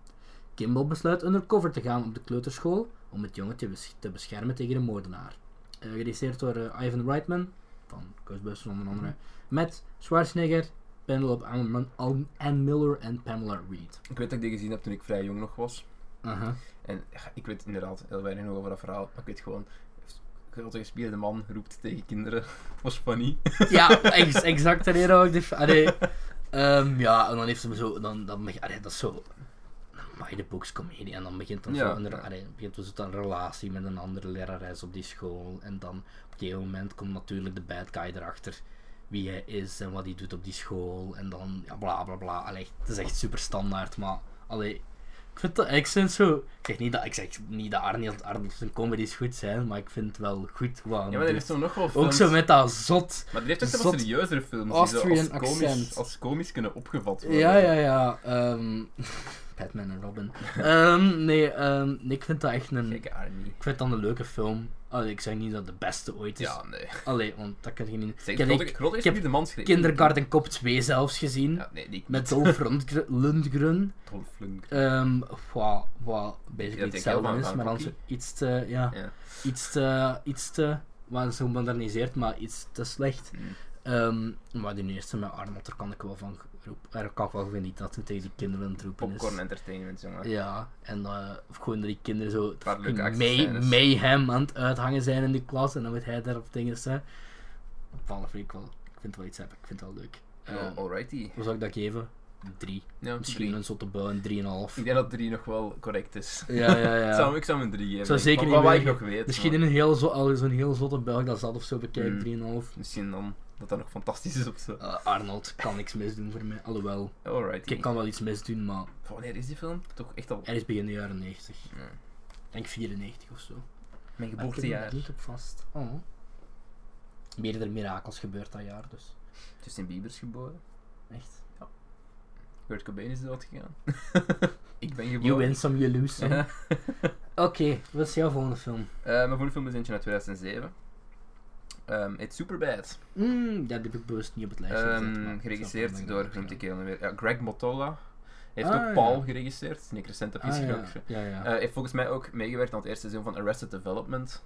Speaker 1: Kimball besluit undercover te gaan op de kleuterschool om het jongetje bes- te beschermen tegen een moordenaar. Eh, geregisseerd door eh, Ivan Reitman, van Ghostbusters onder andere, met Schwarzenegger, Penelope Ann, Ann- Ann Miller en Pamela Reed.
Speaker 2: Ik weet dat ik die gezien heb toen ik vrij jong nog was.
Speaker 1: Aha.
Speaker 2: En ja, ik weet inderdaad heel weinig nog over dat verhaal. Maar ik weet gewoon, een grote gespierde man roept tegen kinderen. Was funny.
Speaker 1: Ja, ex- exact daarin hou ik de... Allee, ehm, ja, en dan heeft ze me zo... Dan, dan, allee, dat is zo... by the books comedie. En dan begint dan
Speaker 2: Ja,
Speaker 1: zo een,
Speaker 2: ja.
Speaker 1: allee, begint dus dan een relatie met een andere lerares op die school. En dan op een gegeven moment komt natuurlijk de bad guy erachter. Wie hij is en wat hij doet op die school. En dan ja, bla bla bla. Allee, het is echt super standaard. Maar allee, ik vind dat accent zo. Ik zeg niet dat, ik zeg niet dat Arnold, Arnold zijn comedies goed zijn. Maar ik vind het wel goed wat hij
Speaker 2: Ja, maar er
Speaker 1: doet.
Speaker 2: heeft zo nog wel
Speaker 1: Ook
Speaker 2: films.
Speaker 1: zo met dat zot.
Speaker 2: Maar er heeft ook zo
Speaker 1: zot
Speaker 2: wat serieuzere films die zo als
Speaker 1: Austrian
Speaker 2: komisch,
Speaker 1: accent.
Speaker 2: als komisch kunnen opgevat worden.
Speaker 1: Ja, ja, ja. ehm, Batman en Robin. Ehm, nee, ehm, nee, ik vind dat echt een.
Speaker 2: Gekke Arnie.
Speaker 1: Ik vind dat een leuke film. Allee, ik zeg niet dat het de beste ooit is.
Speaker 2: Ja, nee.
Speaker 1: Allee, want dat kan je niet.
Speaker 2: Zeg,
Speaker 1: ik heb
Speaker 2: Grotte-
Speaker 1: ik
Speaker 2: Grotte is
Speaker 1: heb
Speaker 2: niet de man schreef.
Speaker 1: Kindergarten Cop 2 zelfs gezien.
Speaker 2: Ja, nee, die
Speaker 1: Met Dolph Lundgren- Lundgren.
Speaker 2: Dolph Lundgren.
Speaker 1: ehm, wat, wat
Speaker 2: denk
Speaker 1: basically
Speaker 2: ik
Speaker 1: hetzelfde
Speaker 2: wel,
Speaker 1: is,
Speaker 2: maar
Speaker 1: maar dan
Speaker 2: Rocky.
Speaker 1: zo iets te. Ja,
Speaker 2: Ja.
Speaker 1: Iets te. Iets te. Waar ze moderniseert, maar iets te slecht.
Speaker 2: Mm.
Speaker 1: Ehm, maar die eerste met Arnold, daar kan ik wel van roepen. Daar kan ik wel van niet dat hij tegen die kinderen aan het roepen is.
Speaker 2: Popcorn entertainment, jongen.
Speaker 1: Dus- Ja, en eh of gewoon dat die kinderen zo
Speaker 2: Paar leuke
Speaker 1: fucking
Speaker 2: actiescènes.
Speaker 1: mayhem aan het uithangen zijn in die klas en dan moet hij daarop dingen staan. Vallen vind ik wel. Ik vind het wel iets hebben, ik vind het wel leuk. Eh,
Speaker 2: Oh, alrighty.
Speaker 1: Hoe zou ik dat geven? Drie.
Speaker 2: Ja,
Speaker 1: Misschien
Speaker 2: drie.
Speaker 1: een zotte bouw, een drieënhalf.
Speaker 2: Ik denk dat 3 nog wel correct is.
Speaker 1: Ja, ja,
Speaker 2: Ik,
Speaker 1: ja.
Speaker 2: zou, ik zou hem een 3 geven.
Speaker 1: Zou
Speaker 2: denk ik.
Speaker 1: zeker
Speaker 2: Maar
Speaker 1: niet
Speaker 2: Wat ik
Speaker 1: meer-
Speaker 2: nog weet.
Speaker 1: Misschien
Speaker 2: maar-
Speaker 1: in een heel, zo, al zo'n heel zotte Belg dat zat of zo bekijkt,
Speaker 2: Mm.
Speaker 1: 3,5.
Speaker 2: Misschien dan dat dat nog fantastisch is of zo.
Speaker 1: Eh, Arnold kan niks misdoen voor mij. Alhoewel,
Speaker 2: Alrighty.
Speaker 1: ik kan wel iets misdoen, maar
Speaker 2: Van Wanneer is die film? Toch echt al...
Speaker 1: er is begin de jaren 90.
Speaker 2: Ja.
Speaker 1: Ik denk 94 of zo.
Speaker 2: Mijn
Speaker 1: Maar ik heb me daar
Speaker 2: geboortejaar.
Speaker 1: niet op vast. Oh. Meerdere mirakels gebeurt dat jaar, dus.
Speaker 2: Justin Bieber is geboren.
Speaker 1: Echt.
Speaker 2: Kurt Cobain is dood gegaan. ik ben geboren.
Speaker 1: You win some, you lose some.
Speaker 2: Ja.
Speaker 1: Oké, wat is jouw volgende film?
Speaker 2: Eh, mijn volgende film is eentje uit 2007. Ehm It's Superbad.
Speaker 1: Mm, dat heb ik bewust niet op het lijstje gezet.
Speaker 2: Ehm,
Speaker 1: maar ik snap
Speaker 2: geregisseerd
Speaker 1: wel dat
Speaker 2: door,
Speaker 1: ik dat
Speaker 2: noemt ik
Speaker 1: heb
Speaker 2: heel weer, ja, Greg Motola. Hij heeft
Speaker 1: Ah,
Speaker 2: ook
Speaker 1: ja.
Speaker 2: Paul geregisseerd, die ik recent heb
Speaker 1: gedaan.
Speaker 2: gezien.
Speaker 1: Ah, ja, ja, ja.
Speaker 2: Eh, heeft volgens mij ook meegewerkt aan het eerste seizoen van Arrested Development.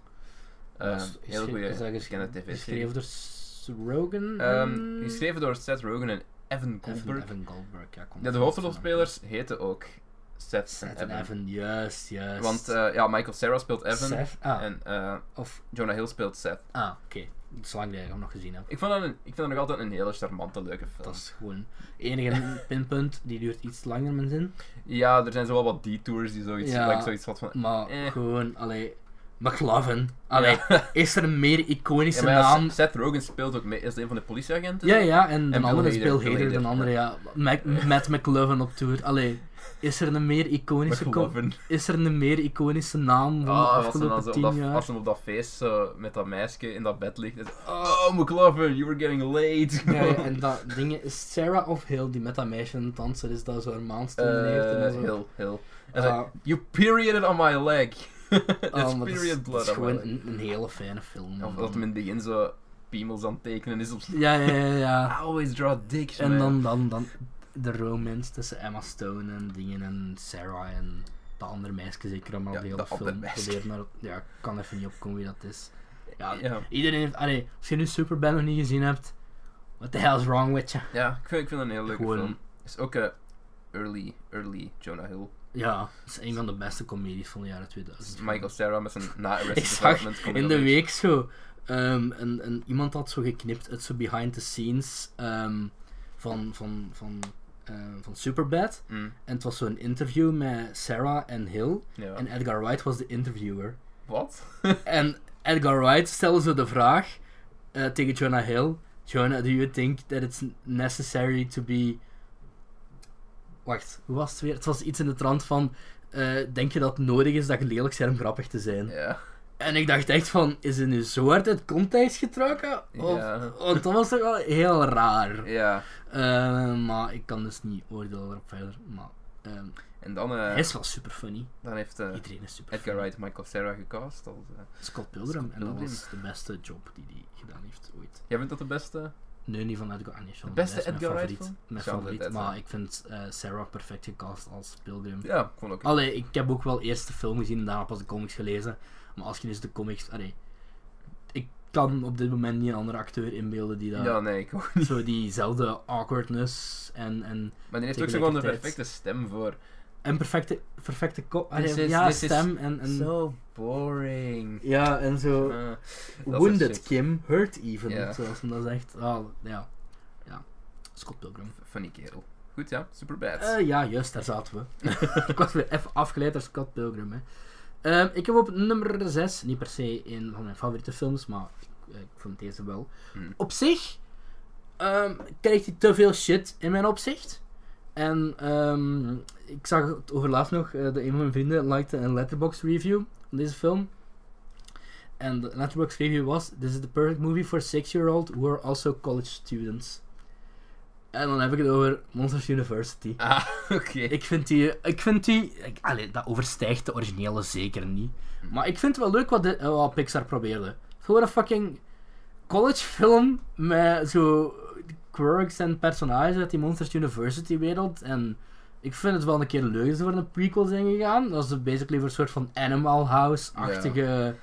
Speaker 2: Ehm,
Speaker 1: Dat is- is
Speaker 2: heel
Speaker 1: ge-
Speaker 2: goede
Speaker 1: is dat ges-
Speaker 2: bekende tv-serie.
Speaker 1: Geschreven door S- Rogan.
Speaker 2: Ehm,
Speaker 1: en-
Speaker 2: geschreven door Seth Rogen en Evan
Speaker 1: Evan-
Speaker 2: Goldberg.
Speaker 1: Evan Goldberg, ja. kom
Speaker 2: Ja, de
Speaker 1: op,
Speaker 2: hoofdrolspelers heten ook Seth,
Speaker 1: Seth
Speaker 2: en
Speaker 1: en
Speaker 2: Evan.
Speaker 1: Evan, juist, juist.
Speaker 2: Want eh, ja, Michael Sarah speelt Evan
Speaker 1: Seth? Ah,
Speaker 2: en eh,
Speaker 1: of,
Speaker 2: Jonah Hill speelt Seth.
Speaker 1: ah oké. Zolang dat ik hem nog gezien heb.
Speaker 2: Ik vond, dat een- ik vind dat nog altijd een hele charmante, leuke film.
Speaker 1: Dat is gewoon enige pinpunt, die duurt iets langer mijn zin.
Speaker 2: Ja, er zijn zowel wat detours die zoiets,
Speaker 1: Ja.
Speaker 2: waar ik zoiets had van...
Speaker 1: Maar
Speaker 2: Eh.
Speaker 1: gewoon, allee, McLovin. Allee,
Speaker 2: Ja.
Speaker 1: is er een meer
Speaker 2: Ja,
Speaker 1: iconische
Speaker 2: maar ja,
Speaker 1: naam?
Speaker 2: Seth Rogen speelt ook mee, is een van de politieagenten.
Speaker 1: Ja, ja, en de
Speaker 2: Bill
Speaker 1: andere
Speaker 2: Hader,
Speaker 1: speel
Speaker 2: Bill
Speaker 1: Hader, de
Speaker 2: Hader,
Speaker 1: andere, ja. Mac, Matt McLovin op tour. Allee, is er een meer iconische, co-
Speaker 2: McLovin.
Speaker 1: is er een meer iconische naam van
Speaker 2: Ah,
Speaker 1: de
Speaker 2: als hem dan
Speaker 1: afgelopen
Speaker 2: zo op
Speaker 1: tien
Speaker 2: dat,
Speaker 1: jaar?
Speaker 2: als hem op dat feest zo met dat meisje in dat bed ligt. en zo, oh, McLovin, you were getting late.
Speaker 1: Ja, ja, en dat ding is Sarah of Hill die met dat meisje aan het dansen is, dat zo haar maand stimuleert en dan
Speaker 2: Eh,
Speaker 1: zo.
Speaker 2: heel, heel. En
Speaker 1: Ah,
Speaker 2: zo, you perioded on my leg. It's
Speaker 1: ah, maar dat is-
Speaker 2: period blood
Speaker 1: Dat is
Speaker 2: on my
Speaker 1: gewoon
Speaker 2: leg.
Speaker 1: een, een hele fijne film.
Speaker 2: Of dat hem in het begin zo piemels aan het tekenen is op zijn...
Speaker 1: Ja, ja, ja, ja.
Speaker 2: I always draw dicks,
Speaker 1: En
Speaker 2: man.
Speaker 1: dan, dan, dan de romance tussen Emma Stone en dingen en Sarah en dat andere meisje zeker allemaal
Speaker 2: Ja,
Speaker 1: de hele
Speaker 2: dat andere
Speaker 1: film
Speaker 2: meisje.
Speaker 1: probeert, maar ja, ik kan even niet opkomen wie dat is. Ja,
Speaker 2: Ja.
Speaker 1: Iedereen heeft, allee, als je nu Superbad nog niet gezien hebt, what the hell is wrong with you?
Speaker 2: Ja, ik vind, ik vind dat een hele leuke
Speaker 1: Gewoon-
Speaker 2: film. is ook een early, early Jonah Hill. Dus
Speaker 1: Ja, dat is een van de beste comedies van de jaren 2000.
Speaker 2: Michael Cera met zijn na
Speaker 1: Ik
Speaker 2: Arrested
Speaker 1: zag
Speaker 2: Development. komt
Speaker 1: in
Speaker 2: heel
Speaker 1: de
Speaker 2: leuk.
Speaker 1: week zo, ehm, een, een, iemand had zo geknipt uit zo behind the scenes ehm, van, van, van, ehm, van Superbad.
Speaker 2: Mm,
Speaker 1: En het was zo'n interview met Sarah en Hill.
Speaker 2: ja.
Speaker 1: En Edgar Wright was de interviewer.
Speaker 2: Wat?
Speaker 1: En Edgar Wright stelde zo de vraag eh, tegen Jonah Hill: Jonah, do you think that it's necessary to be. Wacht, hoe was het weer? Het was iets in de trant van: eh, Denk je dat het nodig is dat je lelijk bent om grappig te zijn?
Speaker 2: Ja.
Speaker 1: En ik dacht echt van: Is het nu zo hard uit context getrokken? Of,
Speaker 2: Ja.
Speaker 1: Want dat was toch wel heel raar.
Speaker 2: Ja.
Speaker 1: Eh, maar ik kan dus niet oordelen erop verder. Maar ehm,
Speaker 2: En dan, eh,
Speaker 1: hij is wel super funny.
Speaker 2: dan heeft eh,
Speaker 1: Iedereen is super
Speaker 2: Edgar Wright Michael Cera gecast. Als, eh,
Speaker 1: Scott Pilgrim.
Speaker 2: Scott
Speaker 1: en dat
Speaker 2: Pilgrim.
Speaker 1: was de beste job die hij gedaan heeft ooit.
Speaker 2: Jij vindt dat de beste?
Speaker 1: Nee, niet van Edgar Wright.
Speaker 2: De beste Edgar Wright
Speaker 1: favoriet,
Speaker 2: film?
Speaker 1: Mijn
Speaker 2: Shaun of the
Speaker 1: favoriet.
Speaker 2: Dead,
Speaker 1: Maar
Speaker 2: hè?
Speaker 1: ik vind eh, Sarah perfect gecast als Pilgrim.
Speaker 2: Ja, ik vond ook.
Speaker 1: Allee, ik heb ook wel eerst de film gezien en daarna pas de comics gelezen. Maar als je dus de comics... Allee, ik kan op dit moment niet een andere acteur inbeelden die
Speaker 2: Ja,
Speaker 1: dat...
Speaker 2: nee, ik ook.
Speaker 1: Zo diezelfde awkwardness en, en,
Speaker 2: Maar die heeft ook zo gewoon de
Speaker 1: Tegelijkertijd.
Speaker 2: perfecte stem voor.
Speaker 1: en perfecte, perfecte ko- allee,
Speaker 2: This is-
Speaker 1: ja,
Speaker 2: this is
Speaker 1: stem en... en
Speaker 2: So boring.
Speaker 1: Ja, en zo...
Speaker 2: Ah, dat is
Speaker 1: Wounded
Speaker 2: echt
Speaker 1: Kim, hurt even,
Speaker 2: Ja.
Speaker 1: zoals men dat zegt. Ah, ja. ja. Scott Pilgrim.
Speaker 2: shit. Funny kerel. Goed, ja. Superbad.
Speaker 1: Eh, ja, juist, daar zaten we. ik was weer even afgeleid door Scott Pilgrim. Hè. Ehm, ik heb op nummer 6, niet per se een van mijn favoriete films, maar ik, eh, ik vond deze wel.
Speaker 2: Hmm.
Speaker 1: Op zich ehm, krijgt hij te veel shit in mijn opzicht. En ehm, ik zag het overlaatst nog, eh, dat een van mijn vrienden likte een letterbox review van deze film. En de letterbox review was: This is the perfect movie for six-year-old who are also college students. En dan heb ik het over Monsters University.
Speaker 2: Ah, oké.
Speaker 1: Ik vind die, ik vind die, ik, allee, dat overstijgt de originele zeker niet. Maar ik vind het wel leuk wat, de, eh, wat Pixar probeerde. Gewoon een fucking collegefilm met zo quirks en personages uit die Monsters University wereld. En ik vind het wel een keer leuk dat ze voor een prequel zijn gegaan. Dat ze basically voor een soort van Animal House-achtige...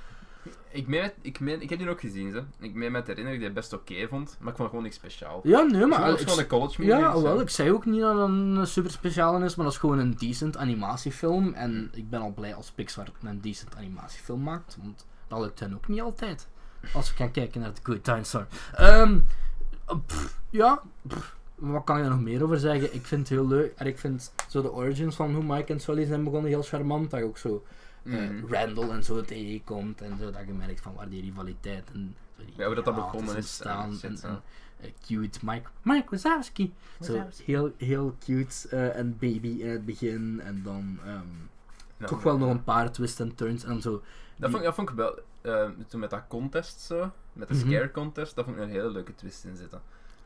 Speaker 2: Ik, meen met- ik, meen, ik heb die ook gezien, ze. Ik meen met herinneren dat ik die best oké vond, maar ik vond het gewoon niks speciaal.
Speaker 1: Ja, nee,
Speaker 2: maar
Speaker 1: maar...
Speaker 2: het is
Speaker 1: ik-
Speaker 2: gewoon een college movie.
Speaker 1: Ja,
Speaker 2: dus,
Speaker 1: wel.
Speaker 2: eh,
Speaker 1: Ik zei ook niet dat het een super speciale is, maar dat is gewoon een decent animatiefilm. En ik ben al blij als Pixar een decent animatiefilm maakt, want dat lukt hen ook niet altijd. Als we gaan kijken naar The Good Dinosaur. Ehm eh, pff, ja, pff, wat kan je er nog meer over zeggen? Ik vind het heel leuk. En ik vind zo de origins van hoe Mike en Sully zijn begonnen heel charmant. Dat je ook zo eh,
Speaker 2: mhm.
Speaker 1: Randall en zo tegenkomt en zo. Dat je merkt van waar die rivaliteit en zo die
Speaker 2: Ja, hoe dat dat
Speaker 1: haat
Speaker 2: begonnen is,
Speaker 1: ontstaan.
Speaker 2: eh, shit,
Speaker 1: en, en,
Speaker 2: ja.
Speaker 1: eh, cute Mike, Mike Wazowski. Zo
Speaker 2: Wazowski.
Speaker 1: heel, heel cute eh, en baby in het begin en dan ehm,
Speaker 2: Nou,
Speaker 1: toch wel nog een paar twists en turns en zo.
Speaker 2: Dat vond, ik- dat vond ik wel, eh, toen met dat contest zo, met de
Speaker 1: Mhm.
Speaker 2: scare contest, daar vond ik een hele leuke twist in zitten.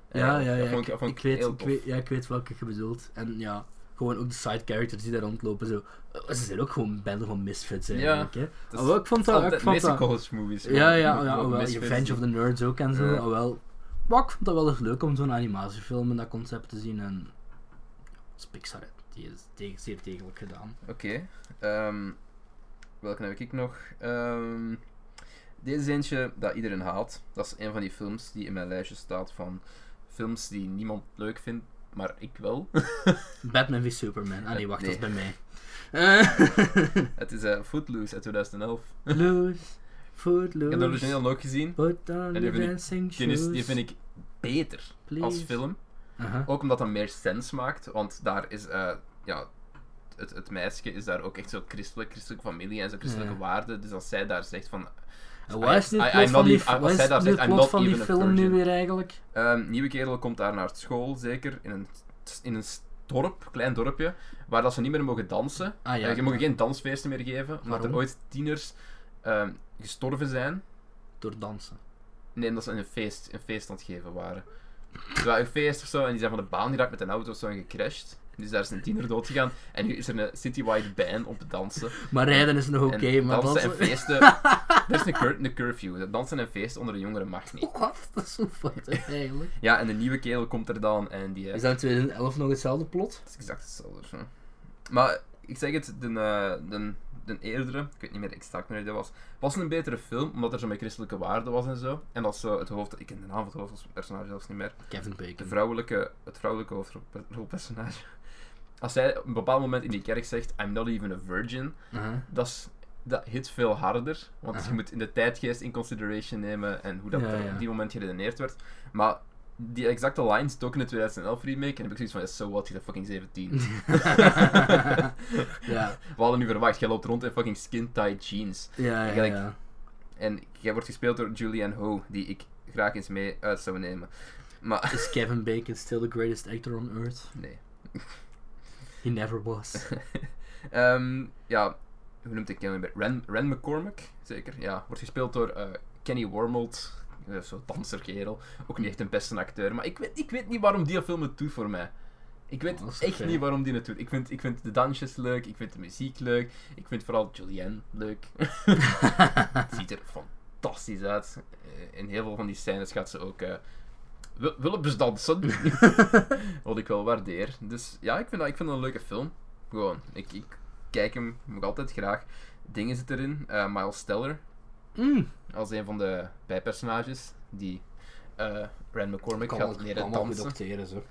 Speaker 2: Eh,
Speaker 1: Ja, ja, ja.
Speaker 2: Dat vond
Speaker 1: Ik,
Speaker 2: ik, dat vond
Speaker 1: ik weet,
Speaker 2: heel
Speaker 1: ik,
Speaker 2: tof.
Speaker 1: weet, ja, ik weet welke je bedoelt. En ja, gewoon ook de side characters die daar rondlopen. Zo. Eh, Ze zijn ook gewoon banden van misfits eigenlijk. Hè.
Speaker 2: Het is
Speaker 1: Ah, wel, ik vond dat...
Speaker 2: altijd
Speaker 1: Ik
Speaker 2: de
Speaker 1: vond
Speaker 2: meeste
Speaker 1: dat
Speaker 2: college movies.
Speaker 1: ja,
Speaker 2: gewoon,
Speaker 1: ja,
Speaker 2: ook
Speaker 1: ja oh,
Speaker 2: wel
Speaker 1: wel,
Speaker 2: misfits
Speaker 1: Revenge of the Nerds ook en zo.
Speaker 2: Ja.
Speaker 1: Wel. Maar ik vond dat wel eens leuk om zo'n animatiefilm en dat concept te zien. En dat is Pixar, hè. die is tegen- zeer degelijk gedaan.
Speaker 2: Oké. ehm, welke heb ik nog? Ehm, deze is eentje dat iedereen haat. Dat is een van die films die in mijn lijstje staat van films die niemand leuk vindt, maar ik wel.
Speaker 1: Batman v Superman. Ah nee, wacht,
Speaker 2: Nee.
Speaker 1: dat is bij mij. Eh,
Speaker 2: Het is eh, Footloose uit 2011.
Speaker 1: Loose,
Speaker 2: Ik
Speaker 1: footloose.
Speaker 2: heb de origineel ook gezien.
Speaker 1: Put on
Speaker 2: die
Speaker 1: the
Speaker 2: vind ik-
Speaker 1: dancing
Speaker 2: Die, is,
Speaker 1: shoes.
Speaker 2: die vind ik beter als
Speaker 1: please.
Speaker 2: film. Oh,
Speaker 1: Aha.
Speaker 2: Ook omdat dat meer sens maakt, want daar is... eh, ja, het, het meisje is daar ook echt zo christelijk, christelijke familie en zo christelijke
Speaker 1: Ja.
Speaker 2: waarden. Dus als zij daar zegt van
Speaker 1: En wat is nu het
Speaker 2: I-
Speaker 1: plot
Speaker 2: I'm
Speaker 1: van
Speaker 2: not
Speaker 1: die,
Speaker 2: even- I-
Speaker 1: wat
Speaker 2: I
Speaker 1: is
Speaker 2: said that,
Speaker 1: nu het
Speaker 2: I'm
Speaker 1: plot
Speaker 2: not
Speaker 1: van die
Speaker 2: even a
Speaker 1: film nu
Speaker 2: virgin.
Speaker 1: weer eigenlijk?
Speaker 2: Ehm, nieuwe kerel komt daar naar school, zeker. In een, in een dorp, klein dorpje, waar dat ze niet meer mogen dansen.
Speaker 1: Ah ja,
Speaker 2: Eh, je mag geen dansfeesten meer geven, omdat
Speaker 1: Waarom?
Speaker 2: er ooit tieners ehm, gestorven zijn.
Speaker 1: door dansen.
Speaker 2: Nee, omdat ze een feest, een feest aan het geven waren. Ze waren een feest of zo, en die zijn van de baan geraakt met een auto of zo en gecrashed. Dus daar is een tiener dood gegaan. En nu is er een citywide ban op het dansen.
Speaker 1: Maar rijden is nog oké,
Speaker 2: en
Speaker 1: maar
Speaker 2: dansen en
Speaker 1: dansen...
Speaker 2: feesten. Er is een, cur een curfew. Dansen en feesten onder de jongeren mag niet.
Speaker 1: Wat? Dat is zo fout eigenlijk.
Speaker 2: Ja, en de nieuwe kerel komt er dan en die. eh,
Speaker 1: Is dat in 2011 nog hetzelfde plot?
Speaker 2: Het is exact hetzelfde. zo. Maar ik zeg het, de, eh, de, de eerdere, ik weet niet meer exact wanneer dat was, was een betere film, omdat er zo met christelijke waarden was en zo. En als zo het hoofd, ik ken de naam van het hoofd als personage zelfs niet meer,
Speaker 1: Kevin
Speaker 2: de
Speaker 1: Bacon.
Speaker 2: vrouwelijke, het vrouwelijke hoofdpersonage. Als zij op een bepaald moment in die kerk zegt, I'm not even a virgin,
Speaker 1: Aha.
Speaker 2: dat, is, dat hit veel harder. Want
Speaker 1: Aha.
Speaker 2: je moet in de tijdgeest in consideration nemen en hoe dat
Speaker 1: Ja,
Speaker 2: er
Speaker 1: ja.
Speaker 2: op die moment geredeneerd werd. Maar die exacte lines stok in de 2011 remake en heb ik zoiets van, yeah, so what, je bent fucking 17.
Speaker 1: ja,
Speaker 2: We hadden nu verwacht, jij loopt rond in fucking skin-tight jeans.
Speaker 1: ja, ja.
Speaker 2: Eigenlijk-
Speaker 1: ja.
Speaker 2: En jij wordt gespeeld door Julianne Ho, die ik graag eens mee uit zou nemen. Maar,
Speaker 1: Is Kevin Bacon still the greatest actor on earth?
Speaker 2: nee.
Speaker 1: He never was.
Speaker 2: Ehm, ja, hoe noemt ik hem weer? Ren, Ren McCormick, zeker. Ja, wordt gespeeld door eh, Kenny Wormold. Eh, Zo'n danserkerel. Ook niet echt een beste acteur. Maar ik weet, ik weet niet waarom die film het doet voor mij. Ik weet
Speaker 1: Oh, dat is
Speaker 2: echt
Speaker 1: oké.
Speaker 2: niet waarom die het doet. Ik vind, ik vind de dansjes leuk, ik vind de muziek leuk, ik vind vooral Julianne leuk. Het ziet er fantastisch uit. Eh, In heel veel van die scènes gaat ze ook. eh Wil- Willems dansen. Wat ik wel waardeer. Dus ja, ik vind dat, ik vind dat een leuke film. Gewoon, ik, ik kijk hem nog altijd graag. Dingen zit erin. eh Miles Teller
Speaker 1: Mm.
Speaker 2: als een van de bijpersonages. Die eh Rand McCormick
Speaker 1: Kan
Speaker 2: gaat
Speaker 1: wel-
Speaker 2: leren
Speaker 1: kan wel goed
Speaker 2: dansen.
Speaker 1: acteren, zo.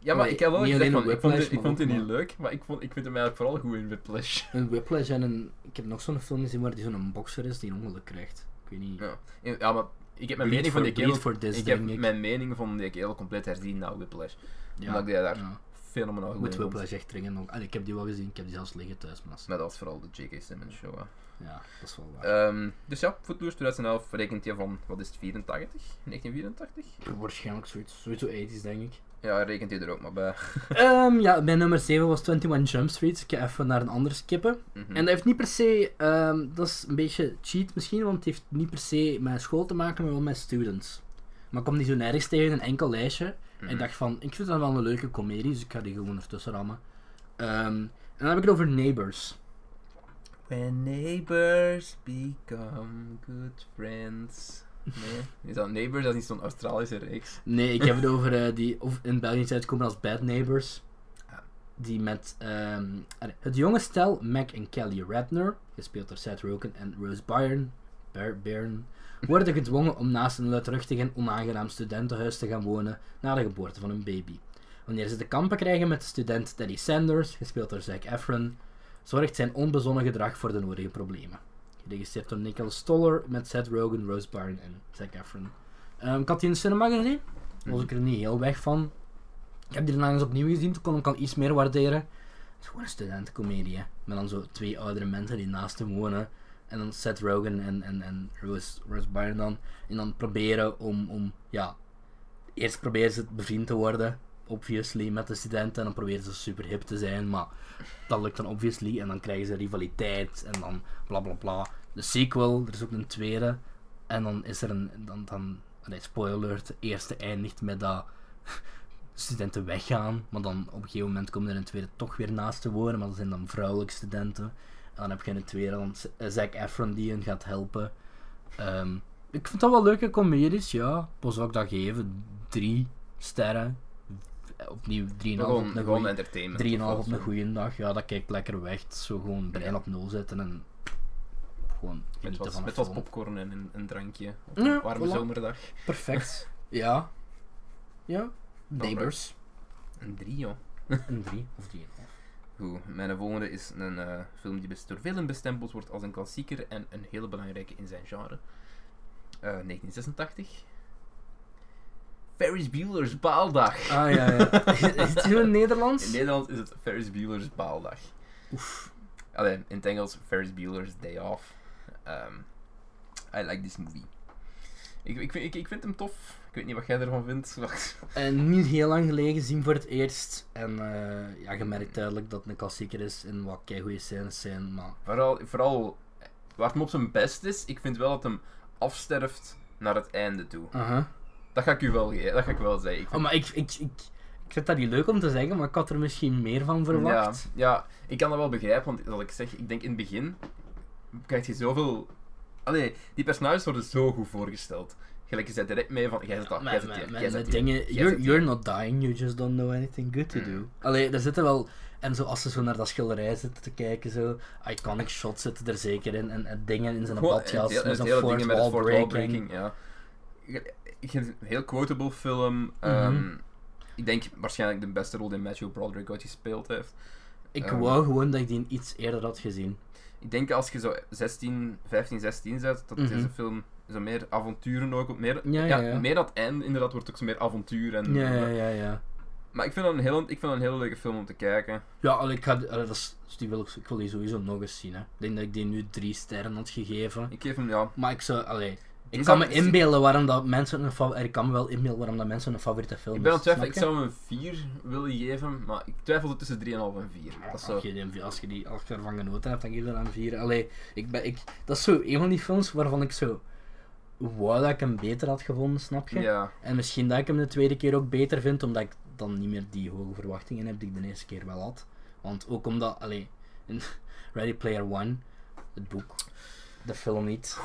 Speaker 2: Ja, maar
Speaker 1: Nee,
Speaker 2: ik heb wel
Speaker 1: niet
Speaker 2: gezegd,
Speaker 1: alleen
Speaker 2: van,
Speaker 1: op
Speaker 2: ik vond,
Speaker 1: Whiplash,
Speaker 2: het- ik
Speaker 1: maar
Speaker 2: vond het
Speaker 1: ook
Speaker 2: niet leuk, maar ik, vond, ik vind hem eigenlijk vooral goed in Whiplash.
Speaker 1: Een Whiplash en een... Ik heb nog zo'n film gezien waar die zo'n bokser is die een ongeluk krijgt. Ik weet niet...
Speaker 2: Ja, ja maar ik heb mijn
Speaker 1: Bleed
Speaker 2: mening van
Speaker 1: for-
Speaker 2: die
Speaker 1: Bleed
Speaker 2: kerel...
Speaker 1: for this,
Speaker 2: Ik heb
Speaker 1: denk ik.
Speaker 2: mijn mening van die kerel compleet herzien na Whiplash.
Speaker 1: Ja.
Speaker 2: Omdat ik die daar
Speaker 1: Ja.
Speaker 2: fenomenaal goed.
Speaker 1: Moet
Speaker 2: in
Speaker 1: wel
Speaker 2: vond.
Speaker 1: wel echt dringend nog. Allee, ik heb die wel gezien, ik heb die zelfs liggen thuis, maar dat is-
Speaker 2: Maar dat was vooral de J.K. Simmons show. hè.
Speaker 1: ja, dat is wel waar.
Speaker 2: Ehm, dus ja, Footloose 2011 rekent je van, wat is het, 84? 1984?
Speaker 1: Pff, Waarschijnlijk zoiets, sowieso 80s denk ik.
Speaker 2: Ja, rekent je er ook maar bij.
Speaker 1: Ehm, ja, mijn nummer 7 was 21 Jump Street. Ik ga even naar een ander skippen.
Speaker 2: Mhm.
Speaker 1: En dat heeft niet per se, ehm, dat is een beetje cheat misschien, want het heeft niet per se met school te maken, maar wel met students. Maar ik kwam die zo nergens tegen, een enkel lijstje.
Speaker 2: Mhm.
Speaker 1: En ik dacht van, ik vind dat wel een leuke komedie, dus ik ga die gewoon ertussen rammen. Ehm, en dan heb ik het over Neighbors.
Speaker 2: When neighbors become good friends. Nee, is dat Neighbors? Dat is niet zo'n Australische reeks.
Speaker 1: Nee, ik heb het over eh, die of in België uitkomen als Bad Neighbors.
Speaker 2: Ja.
Speaker 1: Die met ehm, allee, het jonge stel Mac en Kelly Ratner, gespeeld door Seth Rogen en Rose Byrne, Byr- Byrne, worden gedwongen om naast een luidruchtig en onaangenaam studentenhuis te gaan wonen na de geboorte van hun baby. Wanneer ze te kampen krijgen met de student Teddy Sanders, gespeeld door Zac Efron, zorgt zijn onbezonnen gedrag voor de nodige problemen. Geregisseerd door Nicholas Stoller met Seth Rogen, Rose Byrne en Zac Efron. Ehm, ik had die in de cinema gezien. Was ik er niet heel weg van. Ik heb die daarna eens opnieuw gezien, toen kon ik al iets meer waarderen. Het is gewoon een studentencomedie. hè. Met dan zo twee oudere mensen die naast hem wonen. En dan Seth Rogen en, en, en Rose, Rose Byrne dan. En dan proberen om, om, ja... Eerst proberen ze bevriend te worden, obviously, met de studenten. En dan proberen ze super hip te zijn, maar dat lukt dan obviously. En dan krijgen ze rivaliteit en dan bla bla bla. De sequel, er is ook een tweede. En dan is er een. Dan, dan, allee, spoiler alert, de eerste eindigt met dat studenten weggaan. Maar dan op een gegeven moment komen er een tweede toch weer naast te wonen. Maar dat zijn dan vrouwelijke studenten. En dan heb je een tweede, dan Z- eh, Zac Efron die hen gaat helpen. Ehm, ik vind dat wel leuke comedies, ja. Pas zou ik dat geven. Drie sterren. Eh, Opnieuw 3,5
Speaker 2: Gewoon,
Speaker 1: op de
Speaker 2: gewoon
Speaker 1: goeie-
Speaker 2: entertainment.
Speaker 1: 3,5
Speaker 2: of
Speaker 1: op
Speaker 2: zo.
Speaker 1: een goede dag, ja, dat kijkt lekker weg. Het is Zo gewoon brein op nul zetten en gewoon
Speaker 2: Met
Speaker 1: genieten
Speaker 2: wat,
Speaker 1: van een
Speaker 2: met wat
Speaker 1: film.
Speaker 2: popcorn en een, een drankje. Op een
Speaker 1: Ja,
Speaker 2: warme
Speaker 1: voilà.
Speaker 2: zomerdag.
Speaker 1: Perfect. ja. Ja. Neighbors.
Speaker 2: Een drie, joh.
Speaker 1: Een 3 of 3,5.
Speaker 2: Goed, mijn volgende is een eh, film die best door velen bestempeld wordt als een klassieker en een hele belangrijke in zijn genre. Eh, 1986. Ferris Bueller's Baaldag.
Speaker 1: Ah ja, ja. Is het in het
Speaker 2: In
Speaker 1: Nederlands?
Speaker 2: Nederland is het Ferris Bueller's Baaldag.
Speaker 1: Oef.
Speaker 2: Alleen in het Engels Ferris Bueller's Day Off. Ehm, I like this movie. Ik, ik, vind- ik, ik vind hem tof. Ik weet niet wat jij ervan vindt. Wacht.
Speaker 1: En niet heel lang geleden zien voor het eerst. En eh, ja, je merkt duidelijk dat het een klassieker is en wat goede scènes zijn. Maar
Speaker 2: Vooral, vooral eh, waar het hem op zijn best is, ik vind wel dat hem afsterft naar het einde toe.
Speaker 1: Aha.
Speaker 2: Dat ga ik u wel, ge- dat ga ik wel zeggen. Ik
Speaker 1: Oh,
Speaker 2: vind-
Speaker 1: maar ik, ik, ik, ik vind dat niet leuk om te zeggen, maar ik had er misschien meer van verwacht.
Speaker 2: Ja, ja, ik kan dat wel begrijpen, want dat ik zeg, ik denk in het begin krijg je zoveel... Allee, die personages worden zo goed voorgesteld. Gelijk, je zet direct mee van, jij zit dat, jij
Speaker 1: Met,
Speaker 2: zit
Speaker 1: met,
Speaker 2: hier,
Speaker 1: met-
Speaker 2: jij
Speaker 1: met
Speaker 2: zit hier.
Speaker 1: dingen,
Speaker 2: jij
Speaker 1: you're,
Speaker 2: zit
Speaker 1: you're not dying, you just don't know anything good to
Speaker 2: Mm.
Speaker 1: do. Allee, daar zitten wel, en zo als ze zo naar dat schilderij zitten te kijken, zo, iconic shots zitten er zeker in, en, en dingen in zijn
Speaker 2: Gewoon
Speaker 1: badjas,
Speaker 2: het hele-
Speaker 1: met
Speaker 2: het
Speaker 1: zo'n
Speaker 2: hele
Speaker 1: fourth
Speaker 2: ding met het
Speaker 1: wall
Speaker 2: fourth
Speaker 1: breaking.
Speaker 2: wall breaking, ja. Ik- ik vind het een heel quotable film. ehm,
Speaker 1: Mhm.
Speaker 2: Ik denk waarschijnlijk de beste rol die Matthew Broderick ooit gespeeld heeft.
Speaker 1: Ik
Speaker 2: Ehm.
Speaker 1: wou gewoon dat ik die iets eerder had gezien.
Speaker 2: Ik denk als je zo 16, 15, 16 zet, dat
Speaker 1: Mhm.
Speaker 2: deze film zo meer avonturen ook op meer,
Speaker 1: Ja, ja, ja.
Speaker 2: meer dat einde inderdaad wordt ook zo meer avontuur en
Speaker 1: Ja, ja, ja, ja.
Speaker 2: maar ik vind dat een heel, ik vind dat een hele leuke film om te kijken.
Speaker 1: Ja, allee, ik, ga, die- allee, dat is- dus die wil ik, ik wil die sowieso nog eens zien. Hè. Ik denk dat ik die nu drie sterren had gegeven.
Speaker 2: Ik geef hem ja.
Speaker 1: Maar ik zou, allee, ik
Speaker 2: Is
Speaker 1: kan me
Speaker 2: dat- is-
Speaker 1: inbeelden waarom dat mensen een favoriete, ik kan me wel inbeelden waarom dat mensen een favoriete film
Speaker 2: Ik ben aan
Speaker 1: is.
Speaker 2: het twijfelen,
Speaker 1: snap
Speaker 2: ik
Speaker 1: je?
Speaker 2: zou hem een 4 willen geven, maar ik twijfel zo tussen 3,5 en 4. Dat is zo.
Speaker 1: Als je, die- als je die als je ervan genoten hebt, dan geef je dat een vier. Allee, ik ben, ik, dat is zo een van die films waarvan ik zo wou dat ik hem beter had gevonden, snap je?
Speaker 2: Ja.
Speaker 1: En misschien dat ik hem de tweede keer ook beter vind, omdat ik dan niet meer die hoge verwachtingen heb die ik de eerste keer wel had. Want ook omdat, allee, in Ready Player One, het boek, de film niet.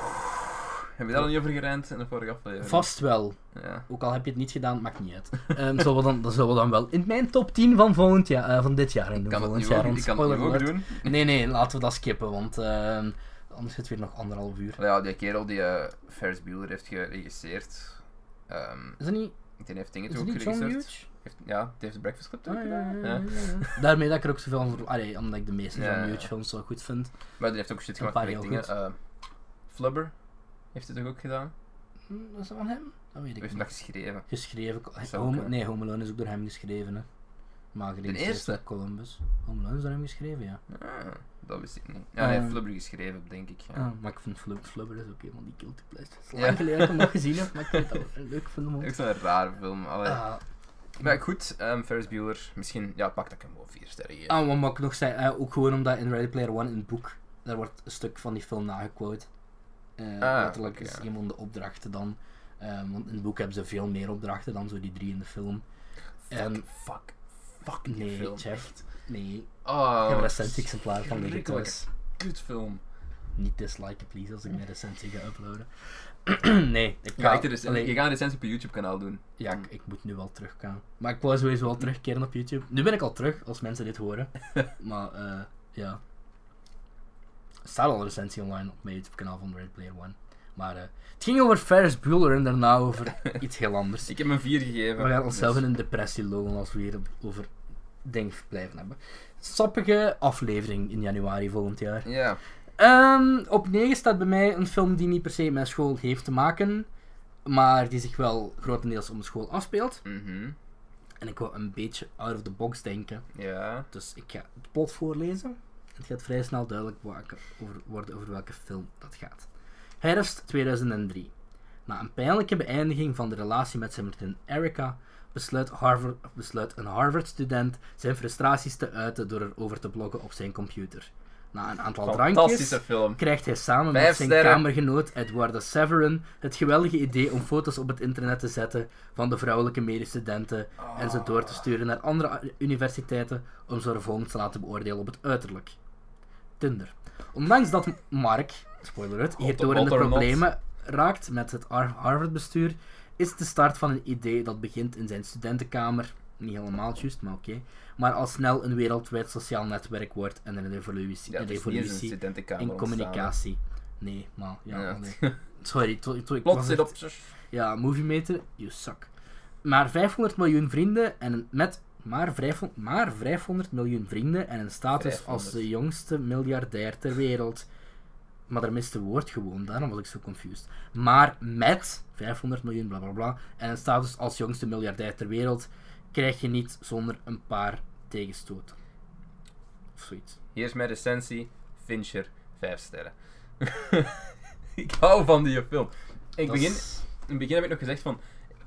Speaker 2: Heb je daar al niet over gerend in de vorige aflevering?
Speaker 1: Vast wel,
Speaker 2: Ja.
Speaker 1: ook al heb je het niet gedaan, maakt niet uit. Ehm zullen we dan, dat zullen we dan wel in mijn top 10 van, volgend jaar, eh, van dit jaar in doen.
Speaker 2: Ik kan het
Speaker 1: volgend
Speaker 2: nu
Speaker 1: jaar,
Speaker 2: ook,
Speaker 1: want
Speaker 2: ik kan het nu
Speaker 1: spoiler
Speaker 2: ook
Speaker 1: alert.
Speaker 2: doen.
Speaker 1: Nee, nee, laten we dat skippen, want ehm, anders zit weer nog anderhalf uur.
Speaker 2: Ja, die kerel die eh Ferris Bueller heeft geregisseerd. ehm,
Speaker 1: Is dat niet,
Speaker 2: die heeft dingen
Speaker 1: is
Speaker 2: toe
Speaker 1: dat
Speaker 2: ook
Speaker 1: niet John
Speaker 2: geregisseerd.
Speaker 1: Hughes?
Speaker 2: Heeft, ja, die heeft de Breakfast Club
Speaker 1: Ah,
Speaker 2: ook
Speaker 1: ja,
Speaker 2: gedaan.
Speaker 1: ja, ja,
Speaker 2: ja.
Speaker 1: ja, ja. Daarmee dat ik er ook zoveel van... Allee, omdat ik de meeste
Speaker 2: Ja,
Speaker 1: John
Speaker 2: ja,
Speaker 1: Hughes
Speaker 2: ja.
Speaker 1: films zo goed vind.
Speaker 2: Maar die heeft ook shit gemaakt
Speaker 1: paar
Speaker 2: met
Speaker 1: heel
Speaker 2: dingen.
Speaker 1: goed.
Speaker 2: eh, Flubber heeft het toch ook gedaan?
Speaker 1: Hm, Was dat van hem? Dat weet
Speaker 2: Die
Speaker 1: ik
Speaker 2: heeft
Speaker 1: niet.
Speaker 2: dat geschreven.
Speaker 1: Geschreven...
Speaker 2: Zou
Speaker 1: Home-
Speaker 2: kunnen.
Speaker 1: nee, Home Alone is ook door hem geschreven, hè. Maar
Speaker 2: De eerste?
Speaker 1: op Columbus. Home Alone is door hem geschreven, ja.
Speaker 2: Ah, dat wist ik niet. Ja, hij heeft
Speaker 1: Eh.
Speaker 2: Flubber geschreven, denk ik. Ja.
Speaker 1: Ah, maar ik vind Flub- Flubber is ook helemaal die guilty pleasure. Het is
Speaker 2: Ja.
Speaker 1: lang geleden dat ik hem nog gezien heb, maar ik vind het al een leuk film. om-
Speaker 2: Ook zo'n rare film. allee.
Speaker 1: Ah,
Speaker 2: Maar goed, ehm Ferris Bueller, misschien ja, pak dat ik hem gewoon vier sterren geef.
Speaker 1: Ah, maar wat ik nog zei, eh, ook gewoon omdat in Ready Player One in het boek, daar wordt een stuk van die film nagequote. Eh letterlijk
Speaker 2: Ah, oké,
Speaker 1: is
Speaker 2: ja.
Speaker 1: een van de opdrachten dan. Eh, want in het boek hebben ze veel meer opdrachten dan zo die drie in de film.
Speaker 2: fuck,
Speaker 1: en-
Speaker 2: fuck, fuck die
Speaker 1: Nee,
Speaker 2: film.
Speaker 1: Jeff. Nee, ik
Speaker 2: Oh,
Speaker 1: heb een recent exemplaar van liggen
Speaker 2: verschrikkelijke
Speaker 1: thuis.
Speaker 2: kutfilm.
Speaker 1: Niet disliken, please, als ik mijn recensie ga uploaden. nee, ik
Speaker 2: Ja,
Speaker 1: ga...
Speaker 2: ik dus,
Speaker 1: allee,
Speaker 2: je gaat een recensie op je YouTube-kanaal doen.
Speaker 1: ja, ik, ik moet nu wel teruggaan. Maar ik wou sowieso wel terugkeren op YouTube. Nu ben ik al terug, als mensen dit horen. maar, eh, ja. Er staat al een recensie online op mijn YouTube-kanaal van Red Player One. Maar eh, het ging over Ferris Bueller en daarna over iets heel anders.
Speaker 2: Ik heb hem vier
Speaker 1: Dus We
Speaker 2: gegeven.
Speaker 1: gaan onszelf
Speaker 2: dus-
Speaker 1: in een depressie lullen als we hier op- over dingen blijven hebben. Sappige aflevering in januari volgend jaar.
Speaker 2: Ja,
Speaker 1: Ehm, op 9 staat bij mij een film die niet per se met mijn school heeft te maken, maar die zich wel grotendeels om de school afspeelt.
Speaker 2: mhm,
Speaker 1: En ik wil een beetje out of the box denken.
Speaker 2: ja.
Speaker 1: Dus ik ga het plot voorlezen. Het gaat vrij snel duidelijk waken- over, worden over welke film dat gaat. Herfst 2003. Na een pijnlijke beëindiging van de relatie met zijn vriendin Erica, besluit, Harvard, besluit een Harvard-student zijn frustraties te uiten door erover te bloggen op zijn computer. Na een aantal drankjes
Speaker 2: Fantastische film.
Speaker 1: krijgt hij samen
Speaker 2: Vijf
Speaker 1: met zijn
Speaker 2: sterren.
Speaker 1: kamergenoot Eduardo Severin het geweldige idee om foto's op het internet te zetten van de vrouwelijke medestudenten en ze door te sturen naar andere u- universiteiten om ze vervolgens te laten beoordelen op het uiterlijk. Tinder. Ondanks dat Mark, spoiler alert, hierdoor in de
Speaker 2: botternot.
Speaker 1: problemen raakt met het Har- Harvard-bestuur, is de start van een idee dat begint in zijn studentenkamer, niet helemaal juist, maar oké, maar al snel een wereldwijd sociaal netwerk wordt en een revolutie,
Speaker 2: Ja,
Speaker 1: een
Speaker 2: het is niet eens een
Speaker 1: revolutie
Speaker 2: studentenkamer
Speaker 1: in
Speaker 2: ontstaan, hè.
Speaker 1: communicatie. Nee, maar ja,
Speaker 2: Ja.
Speaker 1: nee. Sorry, to, to, ik
Speaker 2: Plots
Speaker 1: was
Speaker 2: zit
Speaker 1: echt-
Speaker 2: op...
Speaker 1: Ja, Movie Meter, you suck. Maar 500 miljoen vrienden en een, met maar 500, maar 500 miljoen vrienden en een status
Speaker 2: 500.
Speaker 1: als de jongste miljardair ter wereld. Maar daar miste woord gewoon, daarom was ik zo confused. Maar met 500 miljoen bla bla bla en een status als jongste miljardair ter wereld krijg je niet zonder een paar tegenstoten. Of zoiets.
Speaker 2: Hier is mijn recensie. Fincher, 5 sterren. ik hou van die film. Ik
Speaker 1: Dat
Speaker 2: begin,
Speaker 1: is-
Speaker 2: In het begin heb ik nog gezegd van...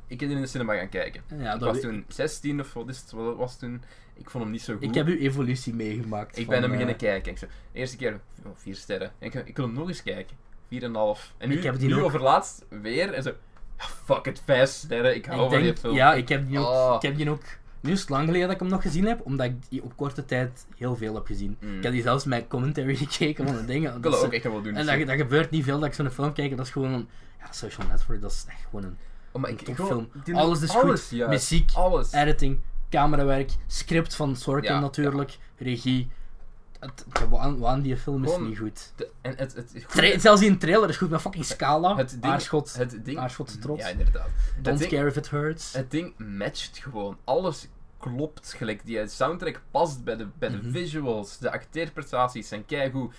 Speaker 2: Ik ben in de cinema gaan kijken.
Speaker 1: Ja, dat
Speaker 2: ik was
Speaker 1: we-
Speaker 2: toen 16 of wat is het, wat was het toen. Ik vond hem niet zo goed.
Speaker 1: Ik heb uw evolutie meegemaakt.
Speaker 2: Ik
Speaker 1: van,
Speaker 2: ben hem
Speaker 1: eh,
Speaker 2: beginnen kijken. Ik zo, de eerste keer 4 sterren. En ik, ik wil hem nog eens kijken. 4,5. En nu,
Speaker 1: Ik heb die
Speaker 2: nu
Speaker 1: ook.
Speaker 2: overlaatst weer. En zo, ja, fuck it, 5 sterren. Ik hou
Speaker 1: ik
Speaker 2: van
Speaker 1: denk-
Speaker 2: die film.
Speaker 1: Ja, ik heb die ook.
Speaker 2: Oh.
Speaker 1: Ik heb die ook nu is het lang geleden dat ik hem nog gezien heb, omdat ik die op korte tijd heel veel heb gezien.
Speaker 2: Mm.
Speaker 1: Ik heb die zelfs mijn commentary gekeken van de dingen.
Speaker 2: ik
Speaker 1: Dat
Speaker 2: wil
Speaker 1: is-
Speaker 2: dat ook echt nog wel doen.
Speaker 1: dus en
Speaker 2: zo.
Speaker 1: dat, dat gebeurt niet veel dat ik zo'n film kijk. Dat is gewoon een ja, social network. Dat is echt gewoon een,
Speaker 2: Oh, maar
Speaker 1: een
Speaker 2: ik- ik
Speaker 1: topfilm.
Speaker 2: wil- die-
Speaker 1: Alles is
Speaker 2: alles,
Speaker 1: goed. Eh,
Speaker 2: juist.
Speaker 1: Muziek,
Speaker 2: Alles.
Speaker 1: editing, camerawerk, script van Sorkin
Speaker 2: Ja,
Speaker 1: natuurlijk, regie. Het, ja, waan, waan die film is
Speaker 2: Gewoon-
Speaker 1: niet goed.
Speaker 2: De- en het, het, het,
Speaker 1: Tra- zelfs die een trailer is goed, maar fucking Scala,
Speaker 2: het ding,
Speaker 1: Aarschot,
Speaker 2: het ding, Mm,
Speaker 1: Aarschotse trots.
Speaker 2: Ja, inderdaad.
Speaker 1: Don't
Speaker 2: het, ding,
Speaker 1: Care If It Hurts.
Speaker 2: het ding matcht gewoon. Alles klopt gelijk. Die soundtrack past bij de, bij de
Speaker 1: Mhm.
Speaker 2: visuals. De acteerprestaties zijn keigoed.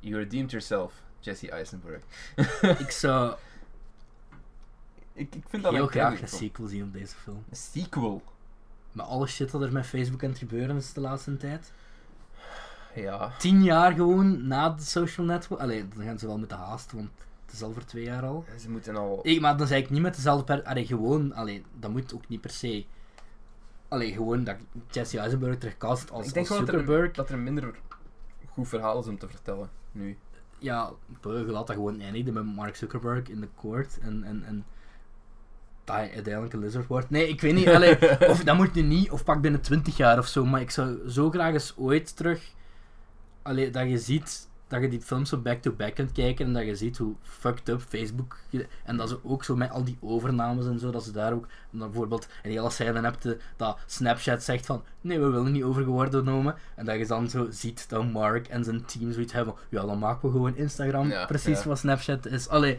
Speaker 2: You redeemed yourself, Jesse Eisenberg.
Speaker 1: Ik zou
Speaker 2: Ik, ik vind dat
Speaker 1: heel
Speaker 2: een
Speaker 1: graag
Speaker 2: keigoed
Speaker 1: een
Speaker 2: film.
Speaker 1: sequel zien op deze film.
Speaker 2: Een sequel.
Speaker 1: Met alle shit dat er met Facebook aan het gebeuren is de laatste tijd.
Speaker 2: Ja.
Speaker 1: Tien jaar gewoon na de social network. Allee, dan gaan ze wel moeten haasten, want het is al voor twee jaar al.
Speaker 2: Ze moeten al.
Speaker 1: Ik, maar dan zei ik niet met dezelfde per... Allee, gewoon... Allee, dat moet ook niet per se... Allee, gewoon dat Jesse Eisenberg terugkast als,
Speaker 2: ik denk
Speaker 1: als
Speaker 2: gewoon dat
Speaker 1: Zuckerberg.
Speaker 2: er, dat er minder goed verhaal is om te vertellen nu.
Speaker 1: Ja, Beugel had dat gewoon eindigde met Mark Zuckerberg in de court. En, en, en dat hij uiteindelijk een lizard wordt. Nee, ik weet niet. Allee, Of dat moet nu niet, of pak binnen 20 jaar of zo. Maar ik zou zo graag eens ooit terug. Allee, dat je ziet dat je die films zo back-to-back kunt kijken. En dat je ziet hoe fucked up Facebook. ge- En dat ze ook zo met al die overnames en zo. Dat ze daar ook dan bijvoorbeeld een hele scène hebt eh, dat Snapchat zegt van. Nee, we willen niet over worden genomen. En dat je dan zo ziet dat Mark en zijn team zoiets hebben. van, Ja, dan maken we gewoon Instagram.
Speaker 2: Ja,
Speaker 1: precies
Speaker 2: ja.
Speaker 1: wat Snapchat is. Allee.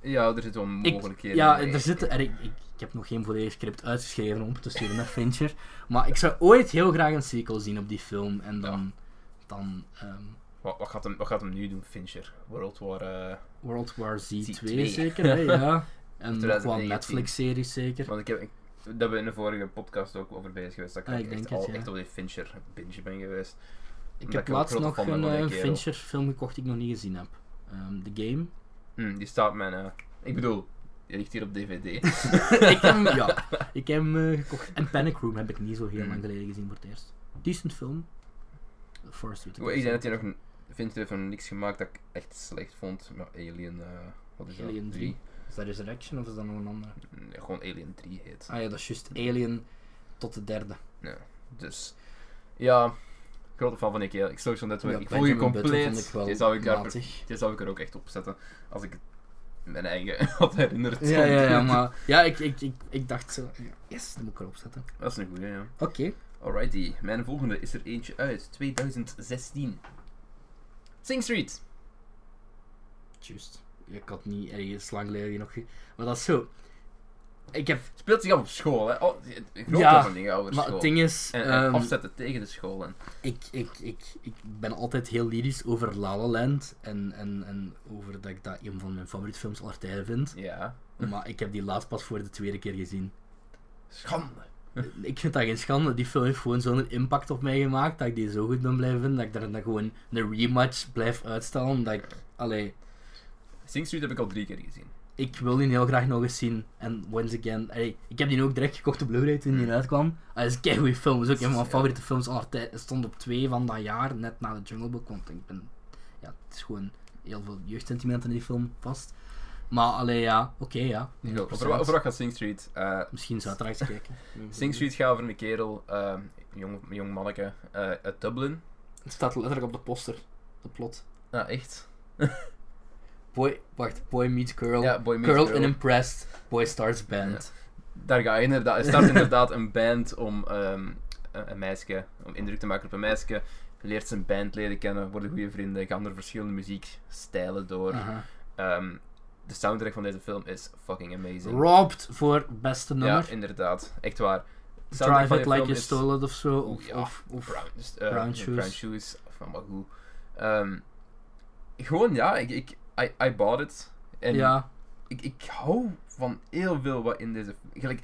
Speaker 2: Ja, er zitten wel
Speaker 1: Ik-
Speaker 2: mogelijkheden.
Speaker 1: ja,
Speaker 2: in.
Speaker 1: er zitten, en ik, ik, ik heb nog geen volledig script uitgeschreven om te sturen naar Fincher. Maar ik zou ooit heel graag een sequel zien op die film. En dan, dan ehm,
Speaker 2: Wat, wat, gaat hem, wat gaat hem nu doen, Fincher? World War. eh,
Speaker 1: World War Z2
Speaker 2: Z2.
Speaker 1: zeker, hè, ja. En nog wel
Speaker 2: 2019.
Speaker 1: Netflix-series zeker.
Speaker 2: Want ik heb, ik, dat we in de vorige podcast ook over bezig geweest. Dat ik,
Speaker 1: Ah,
Speaker 2: ook
Speaker 1: ik
Speaker 2: echt,
Speaker 1: denk het,
Speaker 2: al,
Speaker 1: ja.
Speaker 2: echt op die Fincher binge ben geweest.
Speaker 1: Ik
Speaker 2: ik
Speaker 1: heb
Speaker 2: een
Speaker 1: laatst
Speaker 2: grote
Speaker 1: nog
Speaker 2: fan ben
Speaker 1: een
Speaker 2: van die
Speaker 1: eh,
Speaker 2: kerel.
Speaker 1: Fincher film gekocht die ik nog niet gezien heb. Ehm, The Game.
Speaker 2: Hm, die staat mijn. eh, ik bedoel, die ligt hier op DVD.
Speaker 1: ik heb hem, ja, ik heb hem eh, gekocht. En Panic Room heb ik niet zo heel
Speaker 2: Mm.
Speaker 1: lang geleden gezien voor het eerst. Decent film. Forrest Whitaker.
Speaker 2: ik denk dat hij nog. een- Fincher heeft nog niks gemaakt dat ik echt slecht vond. Maar Alien. eh, wat is
Speaker 1: Alien
Speaker 2: dat?
Speaker 1: 3. Is dat Resurrection of is dat nog een andere?
Speaker 2: Nee, gewoon Alien 3 heet.
Speaker 1: Ah ja, dat is juist Alien tot de derde.
Speaker 2: Dus ja, grote fan van Nick Hale. Ik social netwerk.
Speaker 1: Ja,
Speaker 2: ik voel je
Speaker 1: Benjamin Button vond
Speaker 2: compleet.
Speaker 1: ik wel
Speaker 2: Dit zou ik, daar,
Speaker 1: matig.
Speaker 2: dit zou ik er ook echt op zetten. Als ik mijn eigen had herinnerd.
Speaker 1: Ja, ja, ja, maar ja, ik, ik, ik, ik dacht zo, ja, yes, dat moet ik erop zetten.
Speaker 2: Dat is een goeie, ja.
Speaker 1: Oké,
Speaker 2: Alrighty, mijn volgende is er eentje uit 2016. Sing Street.
Speaker 1: juist. Ik had niet ergens lang geleden nog... ge- Maar dat is zo. Ik heb...
Speaker 2: Speelt zich af op school, hè? Oh, grote
Speaker 1: Ja,
Speaker 2: van dingen over
Speaker 1: Maar
Speaker 2: school.
Speaker 1: het ding is...
Speaker 2: en, en
Speaker 1: ehm,
Speaker 2: afzetten tegen de school. En,
Speaker 1: ik, ik, ik, ik ben altijd heel lyrisch over La La Land en, en, en over dat ik dat een van mijn favoriete films aller tijden vind.
Speaker 2: ja.
Speaker 1: Maar ik heb die laatst pas voor de tweede keer gezien. Eh,
Speaker 2: Schande.
Speaker 1: Ik vind dat geen schande. Die film heeft gewoon zo'n impact op mij gemaakt dat ik die zo goed ben blijven vinden, dat ik daar dan gewoon een rematch blijf uitstellen. Omdat ik, allee,
Speaker 2: Sing Street heb ik al drie keer gezien.
Speaker 1: ik wil die heel graag nog eens zien. En once again, allee, ik heb die ook direct gekocht op Blu-ray toen die uitkwam. Ah, Dat is een goede film. Dat is ook een van mijn
Speaker 2: Mm. Ja.
Speaker 1: favoriete films aller tijden. Het stond op twee van dat jaar, net na de Jungle Book. Want ik ben, ja, het is gewoon heel veel jeugdsentimenten in die film vast. Maar allee, ja, oké, ja.
Speaker 2: Ik wil-
Speaker 1: 100%.
Speaker 2: Over, over wat gaat Sing Street? Eh,
Speaker 1: Misschien zaterdag eens kijken.
Speaker 2: Sing Street gaat over een kerel, eh, een jong, een jong manneke eh, uit Dublin.
Speaker 1: Het staat letterlijk op de poster, de plot.
Speaker 2: Ah, echt?
Speaker 1: Boy, wacht, boy meets girl.
Speaker 2: Ja, Boy Meets
Speaker 1: girl,
Speaker 2: Girl.
Speaker 1: and impressed, boy starts band.
Speaker 2: Daar ga je inderdaad. Er start inderdaad een band om ehm, een een meisje, om indruk te maken op een meisje. Leert zijn band leren kennen, worden goede vrienden, gaan er verschillende muziekstijlen door.
Speaker 1: Aha.
Speaker 2: Ehm, de soundtrack van deze film is fucking amazing.
Speaker 1: Robbed voor beste nummer.
Speaker 2: ja, inderdaad. Echt waar. De soundtrack
Speaker 1: Drive
Speaker 2: van
Speaker 1: It
Speaker 2: die
Speaker 1: Like
Speaker 2: film
Speaker 1: You
Speaker 2: is-
Speaker 1: Stole It of zo. Of,
Speaker 2: Ja,
Speaker 1: of, of
Speaker 2: Brown, dus, eh,
Speaker 1: Brown
Speaker 2: de
Speaker 1: Shoes.
Speaker 2: Brown Shoes, of van maar hoe. Ehm, gewoon ja, ik, ik I, I bought it. En
Speaker 1: ja,
Speaker 2: ik, ik hou van heel veel wat in deze. Gelijk,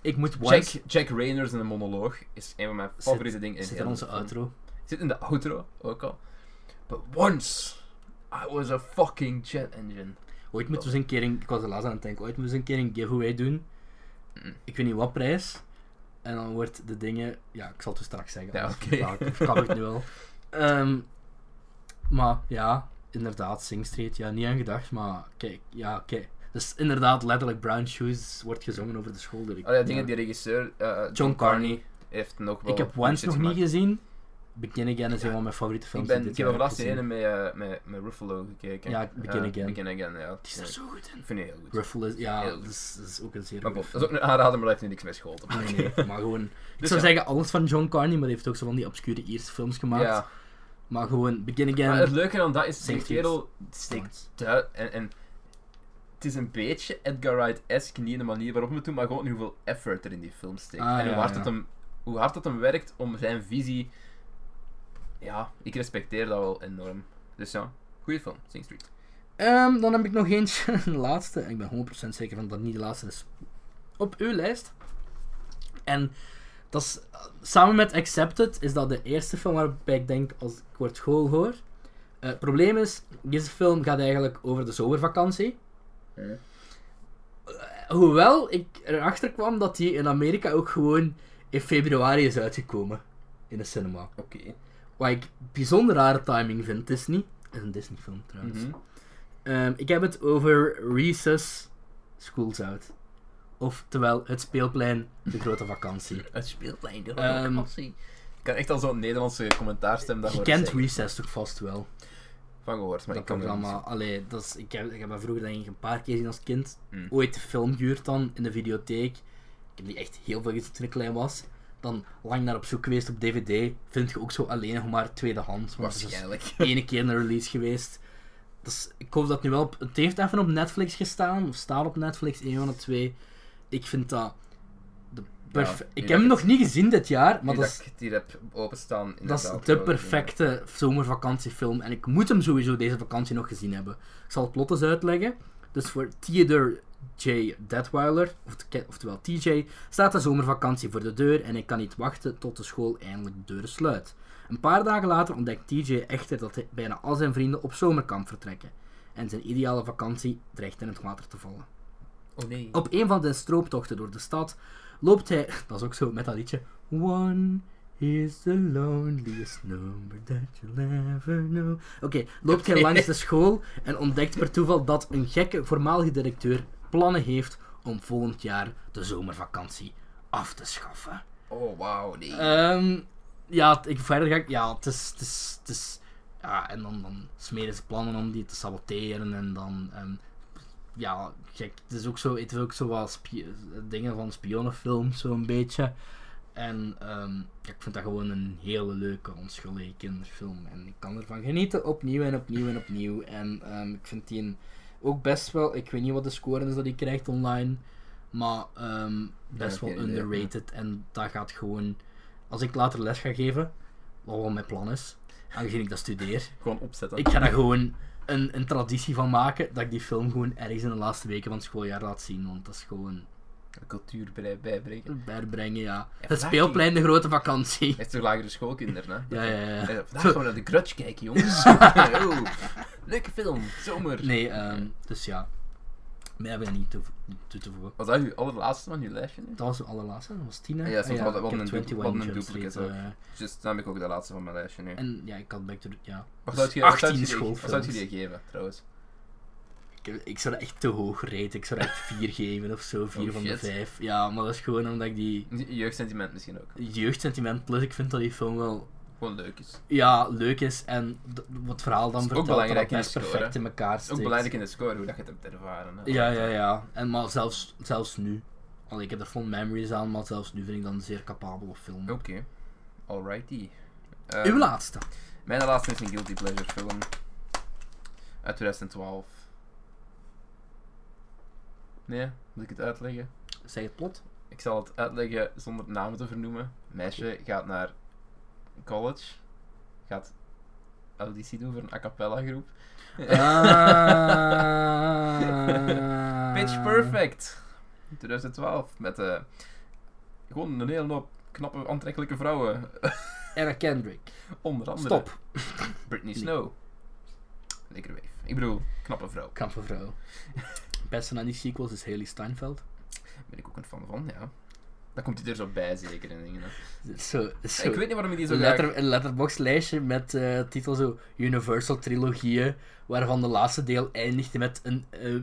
Speaker 1: ik moet
Speaker 2: Jack,
Speaker 1: Once.
Speaker 2: Jack Rayner zijn monoloog is een van mijn favoriete dingen in
Speaker 1: Zit
Speaker 2: heel
Speaker 1: in onze
Speaker 2: de film.
Speaker 1: outro.
Speaker 2: Zit in de outro ook al. But once I was a fucking jet engine.
Speaker 1: Ooit moeten we eens een keer een... Ik was er laatst aan het denken. Ooit moeten we eens een keer een giveaway doen.
Speaker 2: Mm.
Speaker 1: Ik weet niet wat prijs. En dan wordt de dingen... Ja, ik zal het dus straks zeggen.
Speaker 2: Ja,
Speaker 1: anders
Speaker 2: oké.
Speaker 1: verklaar ik- verklap ik het nu wel. Ehm, maar ja, inderdaad. Sing Street. Ja, niet aan gedacht. Maar kijk, ja, kijk. Dus inderdaad, letterlijk Brown Shoes wordt gezongen over de school.
Speaker 2: Oh ja, dingen die regisseur eh,
Speaker 1: John Carney.
Speaker 2: heeft nog wel
Speaker 1: Ik heb
Speaker 2: goede
Speaker 1: Once
Speaker 2: shit
Speaker 1: nog niet
Speaker 2: gemaakt.
Speaker 1: gezien. Begin Again is
Speaker 2: Ja.
Speaker 1: een van mijn favoriete
Speaker 2: Ik,
Speaker 1: films.
Speaker 2: ben,
Speaker 1: die
Speaker 2: ik
Speaker 1: dit
Speaker 2: heb er
Speaker 1: jaar
Speaker 2: laatst die
Speaker 1: gezien.
Speaker 2: ene met, eh, met, met Ruffalo gekeken.
Speaker 1: Ja, Begin
Speaker 2: Eh,
Speaker 1: Again.
Speaker 2: Begin Again, ja.
Speaker 1: Die is er
Speaker 2: Ja,
Speaker 1: zo goed in.
Speaker 2: Ik vind die heel goed.
Speaker 1: Ruffle is, ja,
Speaker 2: Heel
Speaker 1: dat
Speaker 2: goed.
Speaker 1: is, dat is ook een zeer
Speaker 2: Maar
Speaker 1: goede
Speaker 2: goed, dat
Speaker 1: film.
Speaker 2: is ook een aanrader, maar dat heeft nu niks met school te maken.
Speaker 1: Nee, nee, maar gewoon... Ik
Speaker 2: Dus
Speaker 1: zou
Speaker 2: ja.
Speaker 1: zeggen, alles van John Carney, maar hij heeft ook zo van die obscure Ierse films gemaakt.
Speaker 2: Ja.
Speaker 1: Maar gewoon, Begin
Speaker 2: Maar het
Speaker 1: Again...
Speaker 2: leuke aan dat is, die
Speaker 1: Safety is-
Speaker 2: kerel steekt duid... En, en het is een beetje Edgar Wright-esque, niet in de manier waarop we het doen, maar gewoon hoeveel effort er in die film steekt.
Speaker 1: Ah,
Speaker 2: en hoe
Speaker 1: ja,
Speaker 2: hard,
Speaker 1: ja.
Speaker 2: Het hem, hoe hard het hem werkt om zijn visie... Ja, ik respecteer dat wel enorm. Dus ja, goede film, Sing Street.
Speaker 1: Ehm, dan heb ik nog eentje, een laatste. En ik ben 100% zeker van dat het niet de laatste is. Op uw lijst. En dat is, eh, samen met Accepted is dat de eerste film waarbij ik denk, als ik word school hoor... Eh, het probleem is, deze film gaat eigenlijk over de zomervakantie. Eh, Hoewel ik erachter kwam dat die in Amerika ook gewoon in februari is uitgekomen. In de cinema.
Speaker 2: Oké.
Speaker 1: Wat ik bijzonder rare timing vind, Disney. Het is een Disney film trouwens.
Speaker 2: Mhm.
Speaker 1: Ehm, ik heb het over Recess Schools Out. Oftewel, het speelplein, de grote vakantie.
Speaker 2: Het speelplein, de
Speaker 1: Ehm,
Speaker 2: Ik kan echt al zo'n Nederlandse commentaarstem dat
Speaker 1: Je
Speaker 2: horen
Speaker 1: kent
Speaker 2: zeggen.
Speaker 1: Recess toch vast wel?
Speaker 2: Van gehoord, maar
Speaker 1: dat
Speaker 2: ik kan er niet
Speaker 1: programma. Allee, dat is, ik, heb, ik heb dat vroeger denk ik een paar keer gezien als kind.
Speaker 2: Mm.
Speaker 1: Ooit de film gehuurd dan, in de videotheek. Ik heb die echt heel veel gezien toen ik klein was. Dan lang naar op zoek geweest op DVD. Vind je ook zo alleen nog maar tweedehands. want het is
Speaker 2: Waarschijnlijk.
Speaker 1: ene keer een release geweest. Dus ik hoop dat nu wel. Op, het heeft even op Netflix gestaan, of staat op Netflix, één van de twee. Ik vind dat. De perf-
Speaker 2: nu
Speaker 1: ik heb
Speaker 2: dat
Speaker 1: hem
Speaker 2: ik-
Speaker 1: nog niet gezien dit jaar,
Speaker 2: Maar
Speaker 1: maar dat is,
Speaker 2: ik het hier heb openstaan.
Speaker 1: dat
Speaker 2: inderdaad,
Speaker 1: is
Speaker 2: wel
Speaker 1: de
Speaker 2: dingen.
Speaker 1: perfecte zomervakantiefilm. En ik moet hem sowieso deze vakantie nog gezien hebben. Ik zal het plot eens uitleggen. Dus voor Theodore J. Detweiler, oft- ke- oftewel TJ, staat de zomervakantie voor de deur en ik kan niet wachten tot de school eindelijk de deuren sluit. Een paar dagen later ontdekt TJ echter dat hij- bijna al zijn vrienden op zomerkamp vertrekken. En zijn ideale vakantie dreigt in het water te vallen.
Speaker 2: Oh nee.
Speaker 1: Op een van de strooptochten door de stad loopt hij. Dat is ook zo met dat liedje. One is the loneliest number that you'll ever know. Oké, loopt hij
Speaker 2: Oké.
Speaker 1: langs de school en ontdekt per toeval dat een gekke voormalige directeur plannen heeft om volgend jaar de zomervakantie af te schaffen.
Speaker 2: Oh wauw, nee.
Speaker 1: Ehm, ja, t- ik, verder ga ik. Ja, het is. Het is, het is ja, en dan, dan smeren ze plannen om die te saboteren en dan. ehm, ja, gek. Het is ook zo. Het is ook zo wat spie- dingen van spionnenfilms, zo'n beetje. En ehm, ja, ik vind dat gewoon een hele leuke, onschuldige kinderfilm. En ik kan ervan genieten, opnieuw en opnieuw en opnieuw. En ehm, ik vind die een- ook best wel, ik weet niet wat de score is dat hij krijgt online, maar ehm, best
Speaker 2: heb
Speaker 1: wel
Speaker 2: geen idee,
Speaker 1: underrated. En dat gaat gewoon, als ik later les ga geven, wat wel mijn plan is, aangezien ik dat studeer,
Speaker 2: Gewoon opzetten.
Speaker 1: ik ga daar gewoon een, een traditie van maken dat ik die film gewoon ergens in de laatste weken van het schooljaar laat zien. Want dat is gewoon
Speaker 2: Cultuur bij, bijbreken.
Speaker 1: bijbrengen, ja. Het
Speaker 2: vandaag
Speaker 1: speelplein, de grote vakantie.
Speaker 2: Hij is toch lagere schoolkinderen, hè?
Speaker 1: Ja, ja, ja.
Speaker 2: Eh, Vandaag
Speaker 1: Zo.
Speaker 2: gaan we naar de Grudge kijken, jongens. oh, leuke film, zomer.
Speaker 1: Nee, ehm, dus ja. Mij hebben we niet toe, niet toe te voegen.
Speaker 2: Was dat uw allerlaatste van uw lijstje? nu?
Speaker 1: Dat was de allerlaatste, dat was Tina.
Speaker 2: Ah ja, sorry, wat- wat
Speaker 1: ik
Speaker 2: een
Speaker 1: heb
Speaker 2: dupe-
Speaker 1: 21
Speaker 2: wat een
Speaker 1: Jump
Speaker 2: duplicate
Speaker 1: Street, eh,
Speaker 2: Just, Dus dan heb ik ook de laatste van mijn lijstje nu.
Speaker 1: En ja, ik had Back to the... Ja.
Speaker 2: Wat
Speaker 1: Dus
Speaker 2: zou je- wat
Speaker 1: 18
Speaker 2: zou je die- Wat zou je
Speaker 1: schoolfilms.
Speaker 2: die geven, trouwens?
Speaker 1: Ik, ik zou dat echt te hoog raten. Ik zou dat echt 4 geven of zo, 4
Speaker 2: Oh,
Speaker 1: van de
Speaker 2: shit.
Speaker 1: 5. Ja, maar dat is gewoon omdat ik die
Speaker 2: Je- Jeugdsentiment misschien ook.
Speaker 1: jeugdsentiment... Plus ik vind dat die film wel
Speaker 2: Gewoon leuk is.
Speaker 1: ja, leuk is en d- wat het verhaal dan
Speaker 2: Is ook
Speaker 1: vertelt, dat
Speaker 2: belangrijk
Speaker 1: dat
Speaker 2: in de
Speaker 1: best
Speaker 2: score,
Speaker 1: perfect
Speaker 2: hè?
Speaker 1: in elkaar
Speaker 2: Het
Speaker 1: steekt.
Speaker 2: is ook belangrijk in de score hoe dat je het hebt ervaren. hè.
Speaker 1: Ja, ja, ja. En, maar zelfs, zelfs nu. Al ik heb er fond memories aan, maar zelfs nu vind ik dat een zeer capabele film.
Speaker 2: Oké. Alrighty. Eh,
Speaker 1: Uw laatste.
Speaker 2: Mijn laatste is een Guilty Pleasure film. Uit 2012. Nee, moet ik het uitleggen?
Speaker 1: Zeg het plot.
Speaker 2: Ik zal het uitleggen zonder namen te vernoemen. Meisje gaat naar college. Gaat auditie doen voor een a cappella groep.
Speaker 1: Eh. Ah.
Speaker 2: Pitch Perfect. 2012. Met eh, gewoon een hele hoop knappe, aantrekkelijke vrouwen.
Speaker 1: Eric Kendrick.
Speaker 2: Onder andere
Speaker 1: Stop.
Speaker 2: Britney
Speaker 1: Nee.
Speaker 2: Snow. Lekker weef. Ik bedoel, knappe vrouw.
Speaker 1: Knappe vrouw. Beste aan die sequels is Haley Steinfeld.
Speaker 2: Ben ik ook een fan van, ja. Daar komt hij er zo bij, zeker. En dingen. hè.
Speaker 1: Zo, zo.
Speaker 2: Ik weet niet waarom hij die zo
Speaker 1: een,
Speaker 2: graag...
Speaker 1: letter, een letterbox lijstje met eh titel zo Universal trilogieën, waarvan de laatste deel eindigt met een eh,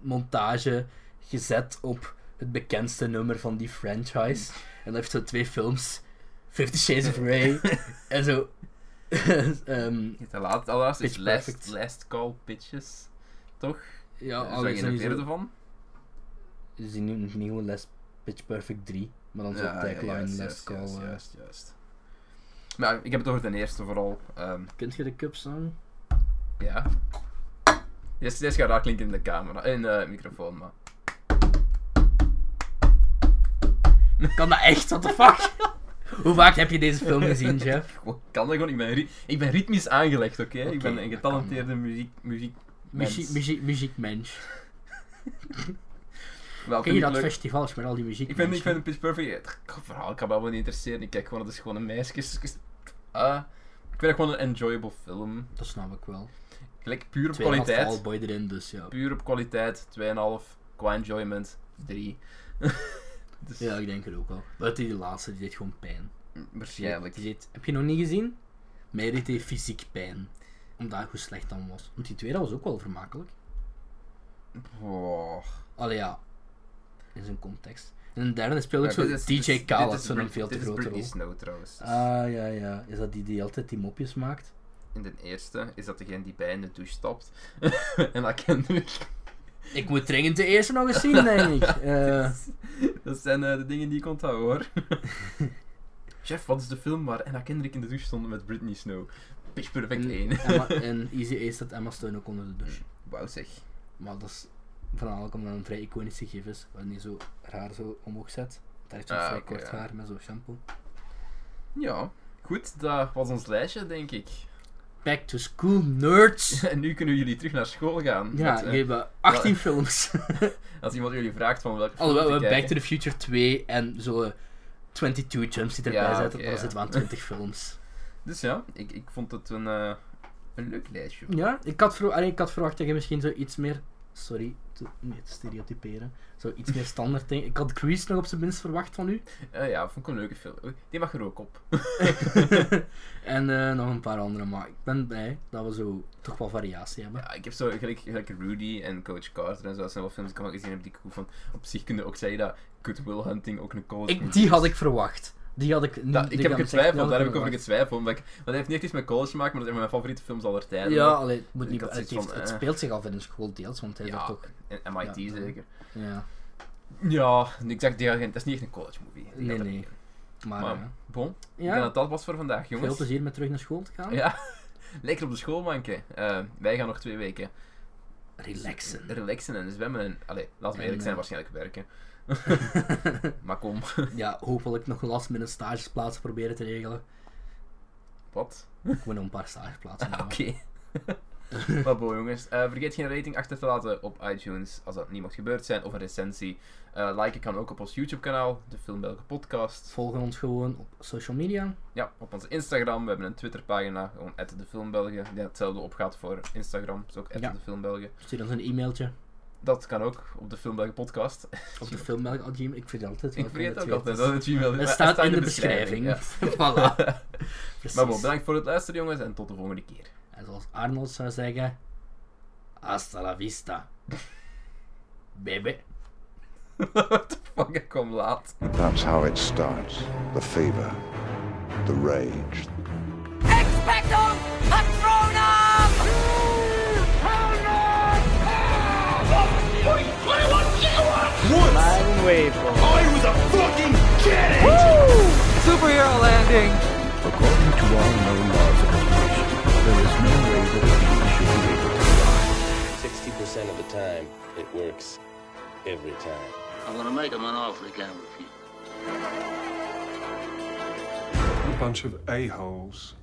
Speaker 1: montage gezet op het bekendste nummer van die franchise. En dan heeft zo twee films, Fifty Shades of Grey en zo. ehm,
Speaker 2: Het laatste, allerlaatste is
Speaker 1: Pitch
Speaker 2: last,
Speaker 1: Perfect.
Speaker 2: last Call Pitches. Toch?
Speaker 1: ja,
Speaker 2: Is
Speaker 1: al
Speaker 2: dat
Speaker 1: is
Speaker 2: geen
Speaker 1: dat niet
Speaker 2: vierde
Speaker 1: zo-
Speaker 2: van?
Speaker 1: is die nieuwe, nieuwe Les Pitch Perfect 3, maar dan zo tagline Last
Speaker 2: juist, juist,
Speaker 1: Call.
Speaker 2: juist,
Speaker 1: eh.
Speaker 2: juist, juist. Maar ja, ik heb het over de eerste vooral. ehm,
Speaker 1: Kunt je de cup song?
Speaker 2: ja. Deze, deze gaat raar klinken in de camera, in de microfoon, maar...
Speaker 1: Kan dat echt? What the fuck? Hoe vaak heb je deze film gezien, Jeff?
Speaker 2: Gewoon, kan dat gewoon? Ik ben, ri- ik ben ritmisch aangelegd, oké?
Speaker 1: Oké,
Speaker 2: ik ben een
Speaker 1: dat
Speaker 2: getalenteerde muziek... muziek
Speaker 1: Muziek, muziek, muziekmensch.
Speaker 2: Wel,
Speaker 1: Ken
Speaker 2: vind
Speaker 1: je
Speaker 2: ik
Speaker 1: dat
Speaker 2: leuk.
Speaker 1: festivals met al die muziek?
Speaker 2: Ik vind, ik vind Pitch Perfect... Het verhaal kan me wel niet interesseren. Ik kijk gewoon, dat is gewoon een meisje. Ah, ik vind het gewoon een enjoyable film.
Speaker 1: Dat snap ik wel.
Speaker 2: Gelijk puur op
Speaker 1: Twee kwaliteit.
Speaker 2: kwaliteit.
Speaker 1: Fallboy erin, dus ja.
Speaker 2: Puur op kwaliteit. 2,5. Qua enjoyment. 3. dus,
Speaker 1: Ja, ik denk het ook wel. Buiten die laatste, die deed gewoon pijn.
Speaker 2: waarschijnlijk.
Speaker 1: Die deed, heb je nog niet gezien? Mij deed hij fysiek pijn. Omdat hoe slecht dat was. Want die tweede was ook wel vermakelijk.
Speaker 2: Oh.
Speaker 1: Allee ja, in zijn context. En de derde speelde ook
Speaker 2: Maar dit
Speaker 1: zo
Speaker 2: is- dit
Speaker 1: DJ
Speaker 2: is- dit
Speaker 1: Khaled
Speaker 2: is
Speaker 1: zo'n
Speaker 2: Brit-
Speaker 1: veel te
Speaker 2: Dit is
Speaker 1: grote
Speaker 2: Britney
Speaker 1: rol.
Speaker 2: Snow trouwens. Dus
Speaker 1: Ah ja, ja. Is dat die die altijd die mopjes maakt?
Speaker 2: In de eerste is dat degene die bij in de douche stapt. en dat Kendrick.
Speaker 1: Ik moet dringend de eerste nog eens zien, denk ik. Eh,
Speaker 2: Dat zijn eh, de dingen die ik onthoud hoor. Jeff, wat is de film waar Anna Kendrick in de douche stond met Britney Snow? Pitch Perfect
Speaker 1: en,
Speaker 2: 1.
Speaker 1: Emma, en Easy Ace staat Emma Stone ook onder de douche.
Speaker 2: Wauw zeg.
Speaker 1: Maar dat is voornamelijk omdat het een vrij iconische gif is, waarin je zo raar zo omhoog zet. Daar heeft ze ook
Speaker 2: Ah,
Speaker 1: vrij
Speaker 2: oké,
Speaker 1: kort
Speaker 2: ja.
Speaker 1: haar met zo'n shampoo.
Speaker 2: Ja, goed. Dat was ons lijstje, denk ik.
Speaker 1: Back to school, nerds.
Speaker 2: En nu kunnen jullie terug naar school gaan.
Speaker 1: Ja,
Speaker 2: Want, eh,
Speaker 1: jullie hebben 18 films.
Speaker 2: als iemand jullie vraagt van welke film
Speaker 1: Alhoewel, we
Speaker 2: te
Speaker 1: hebben Back
Speaker 2: kijken...
Speaker 1: to the Future 2 en zo 22 Jumps die erbij
Speaker 2: Ja,
Speaker 1: zetten.
Speaker 2: oké,
Speaker 1: dan
Speaker 2: ja.
Speaker 1: zitten we aan 20 films.
Speaker 2: Dus ja, ik, ik vond het een, eh, een leuk lijstje.
Speaker 1: Ja, ik had, vero- allee, ik had verwacht dat je misschien zo iets meer... Sorry, te, nee, te stereotyperen. Zo iets meer standaard dingen. Ik had Grease nog op zijn minst verwacht van u.
Speaker 2: Eh, ja, vond ik een leuke film. Oei, Die mag er ook op.
Speaker 1: en eh, nog een paar andere, maar ik ben blij dat we zo toch wel variatie hebben.
Speaker 2: Ja, ik heb zo gelijk, gelijk Rudy en Coach Carter en zo. Dat zijn wel films die ik al gezien heb die ik goed vond. Op zich kunnen ook zeggen dat Good Will Hunting ook een college
Speaker 1: Ik,
Speaker 2: movie
Speaker 1: die had
Speaker 2: is.
Speaker 1: ik verwacht. Die had ik niet.
Speaker 2: Dat, ik
Speaker 1: die "Oh,
Speaker 2: heb
Speaker 1: had
Speaker 2: getwijfeld,
Speaker 1: echt
Speaker 2: daar heb
Speaker 1: wel
Speaker 2: ik over
Speaker 1: verwacht.
Speaker 2: getwijfeld. omdat ik- Want hij heeft niet echt iets met college gemaakt, maar dat is een van mijn favoriete films aller tijden.
Speaker 1: Ja, allee, het moet
Speaker 2: Ik
Speaker 1: niet,
Speaker 2: had
Speaker 1: het,
Speaker 2: zoiets
Speaker 1: heeft-
Speaker 2: van,
Speaker 1: het
Speaker 2: eh.
Speaker 1: speelt zich af in een school deels, want hij is
Speaker 2: Ja,
Speaker 1: er toch.
Speaker 2: en MIT
Speaker 1: Ja.
Speaker 2: zeker.
Speaker 1: Ja,
Speaker 2: Ja, ik zeg, die- dat is niet echt een college movie. Ik denk
Speaker 1: Nee,
Speaker 2: dat-
Speaker 1: nee. maar.
Speaker 2: Maar,
Speaker 1: eh,
Speaker 2: Bon, ik denk
Speaker 1: ja,
Speaker 2: dat dat was voor vandaag,
Speaker 1: veel
Speaker 2: jongens.
Speaker 1: plezier met terug naar school te gaan.
Speaker 2: Ja, lekker op de school manken. Eh, wij gaan nog twee weken
Speaker 1: Relaxen.
Speaker 2: relaxen en zwemmen. En, allee, laten we
Speaker 1: En,
Speaker 2: eerlijk
Speaker 1: eh,
Speaker 2: zijn, waarschijnlijk werken. maar kom,
Speaker 1: ja, hopelijk nog last minute stageplaatsen proberen te regelen.
Speaker 2: wat?
Speaker 1: Ik moet nog een paar stageplaatsen.
Speaker 2: Ah,
Speaker 1: halen.
Speaker 2: Oké. maar bon, jongens. eh, vergeet geen rating achter te laten op iTunes als dat niet mocht gebeurd zijn. Of een recensie. Eh, liken kan ook op ons YouTube-kanaal, de Film Belgen Podcast.
Speaker 1: Volgen ons gewoon op social media.
Speaker 2: Ja, op onze Instagram. We hebben een Twitter-pagina, gewoon de Film Belgen. Die hetzelfde opgaat voor Instagram. Dus ook
Speaker 1: Ja.
Speaker 2: de Film Belgen.
Speaker 1: Stuur ons een e-mailtje
Speaker 2: Dat kan ook op de Film Belgen Podcast.
Speaker 1: op de filmmelk.gmail. Ik vind het altijd wel
Speaker 2: Ik vergeet
Speaker 1: van
Speaker 2: ook
Speaker 1: de
Speaker 2: altijd
Speaker 1: twee.
Speaker 2: dat het Gmail is.
Speaker 1: Het
Speaker 2: maar
Speaker 1: staat in de beschrijving.
Speaker 2: ja.
Speaker 1: voilà. Precies.
Speaker 2: Maar bon, bedankt voor het luisteren, jongens. En tot de volgende keer.
Speaker 1: En zoals Arnold zou zeggen: Hasta la vista. Baby.
Speaker 2: What the fuck, ik kwam laat.
Speaker 3: That's how it starts. The fever, the rage,
Speaker 4: Expecto Patronum!
Speaker 3: According to all known laws of creation, there is no way that a being should be able to fly.
Speaker 5: 60% of the time, it works every time.
Speaker 6: I'm gonna make him an offer he can't refuse.
Speaker 7: A bunch of a-holes.